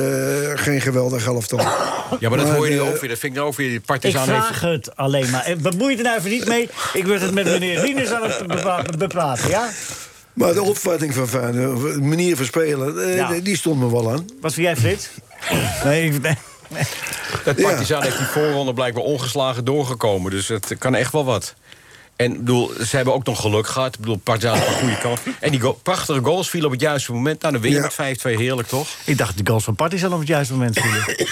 geen geweldig elftal. Ja, maar dat hoor je nu eh, ook weer. Dat vind ik nou ook weer. die Ik Partizan vraag heeft... het alleen maar. Eh, Bemoei je er nou even niet mee. Ik wil het met meneer Rieners aan het bepla- bepraten, ja? Maar de opvatting van Feyenoord, de manier van spelen, eh, Ja. die stond me wel aan. Wat vind jij, Frits? Nee, ik ben... Dat Ja. Partizan heeft die voorronde blijkbaar ongeslagen doorgekomen. Dus het kan echt wel wat. En ik bedoel, ze hebben ook nog geluk gehad. Ik bedoel, Partizan had een goede kant. En die go- prachtige goals vielen op het juiste moment. Nou, dan win je Ja. met 5-2 heerlijk, toch? Ik dacht, de goals van Partizan op het juiste moment vielen.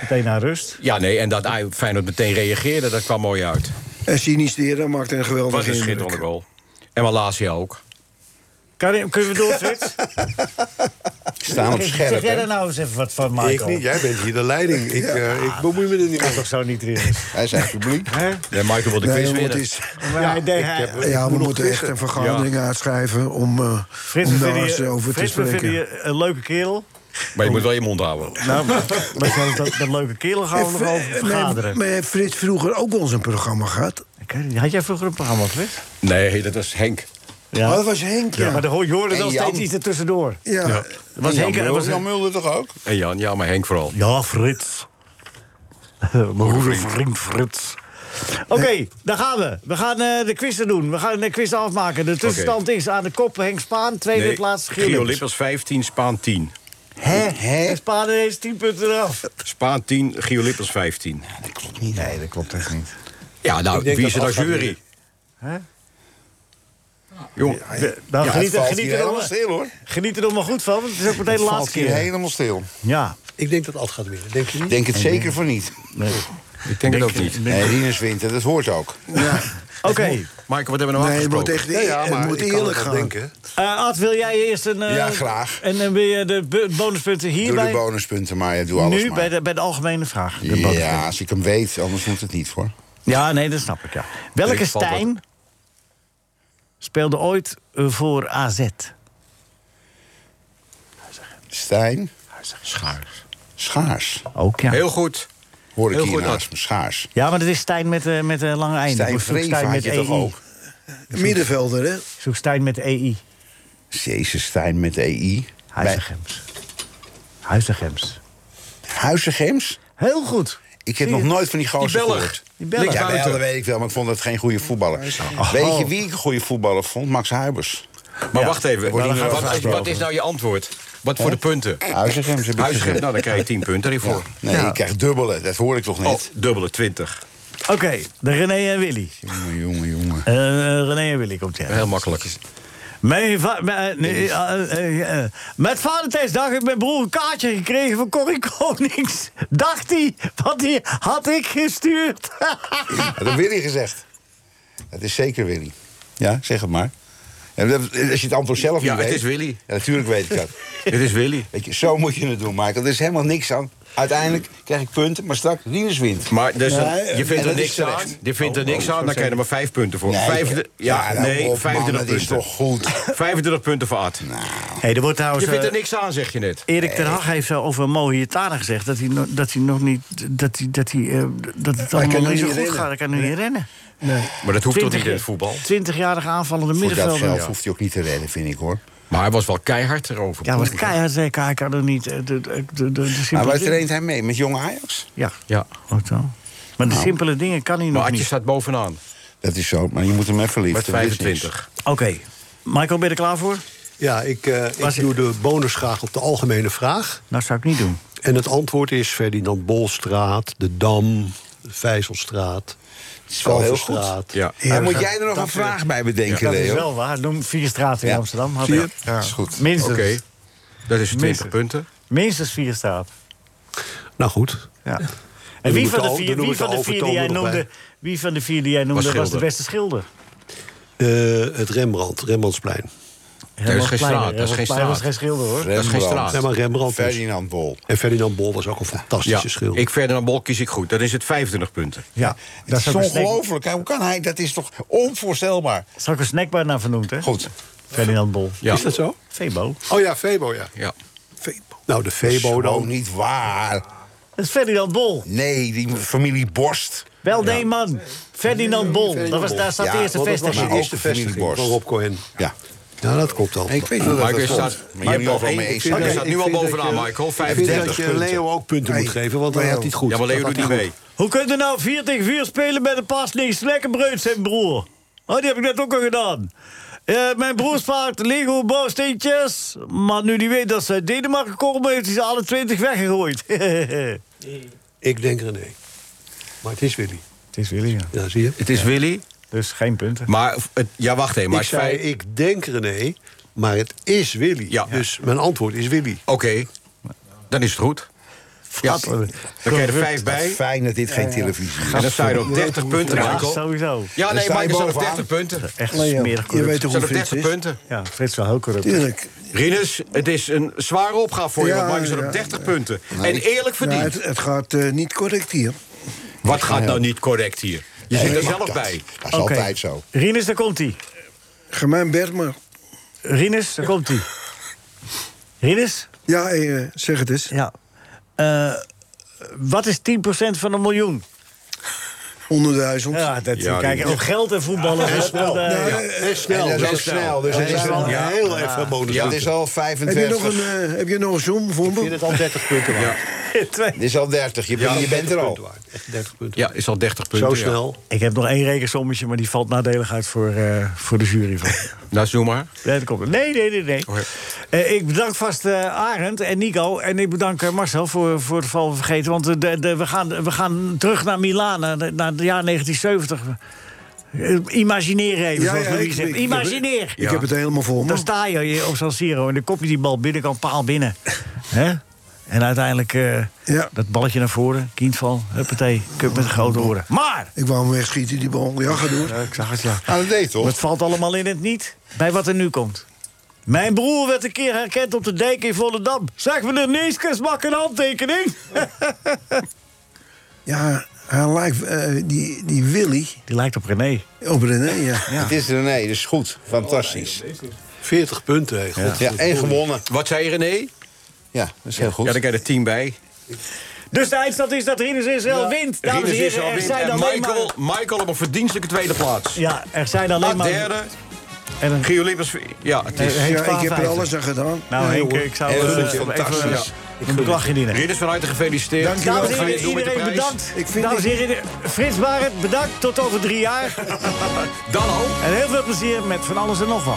Meteen naar rust. Ja, nee, en dat Aj- Feyenoord meteen reageerde, dat kwam mooi uit. En Sinistera maakte een geweldige was een indruk. schitterende goal. En Malaysia ook. Karim, kunnen we door, Frits? Staan op zeg scherp, jij hè? daar nou eens even wat van, Michael? Ik niet, jij bent hier de leiding. Ik, eh, ik bemoei me er niet mee. Toch zo niet, Rieners? Hij is echt publiek. En Michael wil de Nee, quiz want het winnen. is- Maar hij deed- hij- ja, we nog moeten echt quizzen. een vergadering uitschrijven om, eh, Frits, om we daar vinden eens je- over te Frits, we vinden spreken. je een leuke kerel. Maar je moet wel je mond houden. Nou, maar zelfs dat, dat leuke kerel gaan we nog Eh, over vergaderen. Maar heeft Frits vroeger ook wel eens een programma gehad? Ik weet het niet. Had jij vroeger een programma, Frits? Nee, dat was Henk. Oh, Ja. dat was Henk, ja. Maar dan hoor je hoorde En wel steeds Jan. iets ertussendoor. Ja. Was Jan Henk, Mulder- was, Jan Mulder toch ook? En Jan, ja, maar Henk vooral. ja, Frits. Mijn goede vriend Frits. Oké, daar gaan we. We gaan eh, de quiz er doen. We gaan de quiz afmaken. De tussenstand is aan de kop Henk Spaan. Tweede Nee, plaats Gio Gio Lippers 15, Spaan 10. Hè? Hè? Spaan heeft 10 punten eraf. Spaan 10, Gio Lippers 15. Nee, dat klopt echt niet. Ja, nou, wie is er nou Ad gaat jury? Eh? Jong, Nou, Ja, het geniet, er- valt geniet, hier er nog helemaal maar, stil, hoor. geniet er nog maar goed van, want het is ook meteen de Het laatste valt hier keer. helemaal stil. Ja. Ik denk dat Alt gaat winnen, denk je Ik niet? denk het zeker van niet. ik denk het ook niet. Nee, Rinus wint, en dat hoort ook. Oké, Michael, wat hebben we nou Nee, het moet afgesproken? echt Ja, ja, maar het E, moet ik kan het eerlijk wel gaan. denken. Eh, Ad, wil jij eerst een... eh, Ja, graag. En dan wil je de bu- bonuspunten Doe de hierbij... bonuspunten maar, ja, doe alles nu maar. bij de, bij de algemene vraag. De Ja, bonuspunten. als ik hem weet, anders moet het niet, hoor. ja, nee, dat snap ik, ja. Welke Ik val dat- Stijn speelde ooit eh, voor AZ? Stijn, Schaars. schaars. Ook, ja. Heel goed. Hoor Heel ik goed, hier Ad. naast me, schaars. Ja, maar dat is Stijn met, eh met een lange einde. Stijn Ik zoek Vreven had je met E toch EI. ook? Middenvelder, hè? Ik zoek Stijn met E EI. Jezus, Stijn met EI. Bij Huizengems. Huizengems. Huizengems? Heel goed. Ik heb Zie nog je? nooit van die gozer Die Belg. gehoord. Die bellen. Ja, Bijl, dat weet ik wel, maar ik vond het geen goede voetballer. Oh. Weet je wie ik een goede voetballer vond? Max Huibers. Maar wacht even, Wordt niet meer wat, over is, gesproken. wat is nou je antwoord? Wat voor de punten? Huizegem, ze Huizegem, hebben gezegd. Eh, nou dan krijg je 10 punten hiervoor. Nee, je krijgt dubbele, dat hoor ik toch niet? Oh, dubbele 20. Oké, de René en Willy. Oh. Jongen, jongen, jongen. René en Willy komt ja. Heel makkelijk. Mijn va- mijn- eh, dus- nee, eh, eh, eh, met Valentijnsdag heeft mijn broer een kaartje gekregen van Corrie Konings. Dacht hij, want die had ik gestuurd. Dat heeft Willy gezegd. Dat is zeker Willy. Ja, zeg het maar. Ja, dat- Als je het antwoord zelf Ja, niet weet... het is Willy. Ja, natuurlijk weet ik dat. Het is Willy. Weet je, zo moet je het doen, Michael. Er is helemaal niks aan. Uiteindelijk krijg ik punten, maar straks Rinus wint. Maar dus Nee, je en vindt dat er is niks aan. terecht. Je vindt er Oh, niks oh, aan, dan zo krijg je er maar vijf punten voor. Nee, Vijfde, ja, ja, nou, nee, op, man, 25 dat is punten. toch goed. 25 punten voor Ad. Hey, er wordt trouwens, je vindt er eh, niks aan, zeg je net. Erik ten Hag heeft zo over Mohietana gezegd dat hij, no- dat hij nog niet. dat, hij, dat, hij, eh, dat het allemaal kan nog nu niet niet zo goed rennen. gaat. Hij kan nu niet rennen. Maar dat hoeft toch niet 20 in het voetbal? 20-jarige aanvallende Voor dat middenvelder. geld hoeft hij ook niet te redden, vind ik hoor. Maar hij was wel keihard erover. Ja, was keihard zeker. Hij kan er niet. eh, De, de, de, de Maar simpele waar dingen- traint hij mee? Met jonge Ajax? Ja. Ja. Nou. Ook zo. Maar de simpele dingen kan hij nog Maar Adje niet. staat bovenaan. Dat is zo, maar je moet hem even lief. Met 25. Oké. Michael, ben je er klaar voor? Ja, ik, eh, ik doe de bonus graag op de algemene vraag. Dat Nou, zou ik niet doen. En het antwoord is Ferdinand Bolstraat, De Dam, de Vijzelstraat, is wel heel goed. Kalverstraat. Ja. Maar moet jij er nog een vraag bij bedenken, dat is Leo? wel waar. Noem vier straten in Ja. Amsterdam. Had Zie je? ik. Dat is goed. Minstens. Oké. Dat is 20 Minstens. punten. Minstens vier straten. Nou goed. Ja. Dan En wie moet van de de al- dan vier, doen we wie de van de vier die overtoon jij er nog noemde, bij. wie van de, vier die jij noemde was, de schilder. beste schilder? Eh, het Rembrandt, Rembrandtsplein. Dat is geen straat, dat is geen straat. was geen schilder hoor. Dat is geen straat. Ja, maar Rembrandt. dus. Ferdinand Bol. En Ferdinand Bol was ook een fantastische Ja, schilder. ik Ferdinand Bol kies ik goed. Dat is het 25 punten. Ja, Dat is ongelooflijk. Hoe kan hij? Dat is toch onvoorstelbaar. Zal ik een snackbar naar vernoemd, hè? Goed. Ferdinand Bol. Ja. Is dat zo? Febo. Oh ja, Febo, ja. Ja. Nou, de Febo Zo dan. Dus niet waar. Dat is Ferdinand Bol. Nee, die familie Borst. Wel nee, man. Ferdinand Bol. Dat was, daar staat Ja, de eerste Want dat was vestiging. de Maar eerste ook familie vestiging van Borst. Rob Cohen. Ja. Ja, dat klopt al. Ik weet wel dat Maar dat ik klopt. staat- Maar jullie Michael, overal mee één- eens. Hij Oké, staat ik nu al vind dat bovenaan, je- Michael. Ik vind dat 35 je punten. Leo ook punten moet geven, want dan had hij het goed. Ja, maar Leo Dat had doet niet hij mee. goed. Hoe kunt u nou 4 tegen 4 spelen met een pas niks lekker breut, zijn broer? Oh, die heb ik net ook al gedaan. Eh, mijn broer spaart Lego bouwsteentjes. Maar nu die weet dat ze uit Denemarken komen, heeft hij ze alle 20 weggegooid. Het Ik denk René. Maar het is Willy. is Willy, Ja, zie je? Het is Willy. Dus geen punten. Maar het, ja, wacht even. Maar ik het zei, feit- ik denk René, maar het is Willy. Ja. Dus mijn antwoord is Willy. Oké, dan is het goed. Ja, dan krijg je er eh, vijf bij. Fijn dat dit geen televisie is. En dan sta je op 30 punten, Ja, Michael. sowieso. Ja, Dan nee, sta je Michael staat op bovenaan. 30 punten. Echt Leo, smerig je corrupt. weet toch Staat hoe op Frits 30 is? punten. Ja, Frits wel heel corrupt. Tuurlijk. Rinus, het is een zware opgave voor je, Ja, want Michael staat op ja, 30 punten. En eerlijk Ja, verdiend. het, het gaat eh, niet correct hier. Wat gaat nou niet correct hier? Je zit er zelf bij. Dat is Oké. altijd zo. Rinus, daar komt hij. Gemeen Bertmer. Rinus, daar komt hij. Rinus? Ja, eh, zeg het eens. Ja. Eh, wat is 10% van een miljoen? 100.000. Ja, dat, Ja, kijk, Rinus. ook geld en voetballen. dat speelt, eh, Nou, ja. En snel. En dat dus is snel. Dus dat het is zijn al- wel ja. heel even bonus. Ja, het is al heb, je nog 25. een, eh, heb je nog een zoom voor Ik vind me? het al 30 punten waard. Twee. Dit is al 30. Je, bent- je bent er 30 al. punten waard. Echt 30 punten. Ja, is al 30 punten. Zo ja. snel. Ik heb nog één rekensommetje, maar die valt nadelig uit voor, eh, voor de jury. Van. Nou, zo maar. nee, dat komt- nee, nee, nee. Oh, nee. Oké. Eh, ik bedank vast eh, Arend en Nico. En ik bedank eh, Marcel voor, voor het val vergeten. Want eh, de, de, we, gaan, we gaan terug naar Milaan, naar, de- naar het jaar 1970. Eh, Imagineer even, Ja, Dus zoals ja, Louis ik- zegt. ik- Imagineer! Ik heb het helemaal voor me. Dan sta je hier op San Siro en dan kop je die bal binnenkant paal binnen. hè? En uiteindelijk eh, Ja. dat balletje naar voren, kindval, huppatee, cup met grote oren. Maar! Ik wou hem wegschieten, die bal. Ja, ga door. Ja, ik zag het, ja. Ah, dat deed Maar toch? Het valt allemaal in het niet bij wat er nu komt. Mijn broer werd een keer herkend op de dijk in Volendam. Zeg me de Neeskens, maak een handtekening. Ja, hij lijkt, eh, die, die Willy Die lijkt op René. op René, ja. Het is er, nee, dat is goed. Fantastisch. 40 punten. hè. God, Ja, en gewonnen. Wat zei je, René? Ja, dat is heel Ja, goed. dan krijg je er 10 bij. Dus de eindstand is dat Rinus Israël wint. Dames en Rinus is heren, al er winnaar. zijn En alleen Michael, maar... Michael op een verdienstelijke tweede plaats. Ja, er zijn alleen Laat maar... derde. En een... Gio Lippers. Ja, het is... Henk Ja, ik heb er Spaanvijver. alles aan gedaan. Nou Henk, ik zou... Heel eh, goed, even- fantastisch. ja. een beklag indienen. Ridders van harte gefeliciteerd. Dames en Ga je heren, door met de iedereen prijs. bedankt. Dames en heren, Frits Barend, bedankt. Tot over drie jaar. Dan al. En heel veel plezier met van alles en nog wat.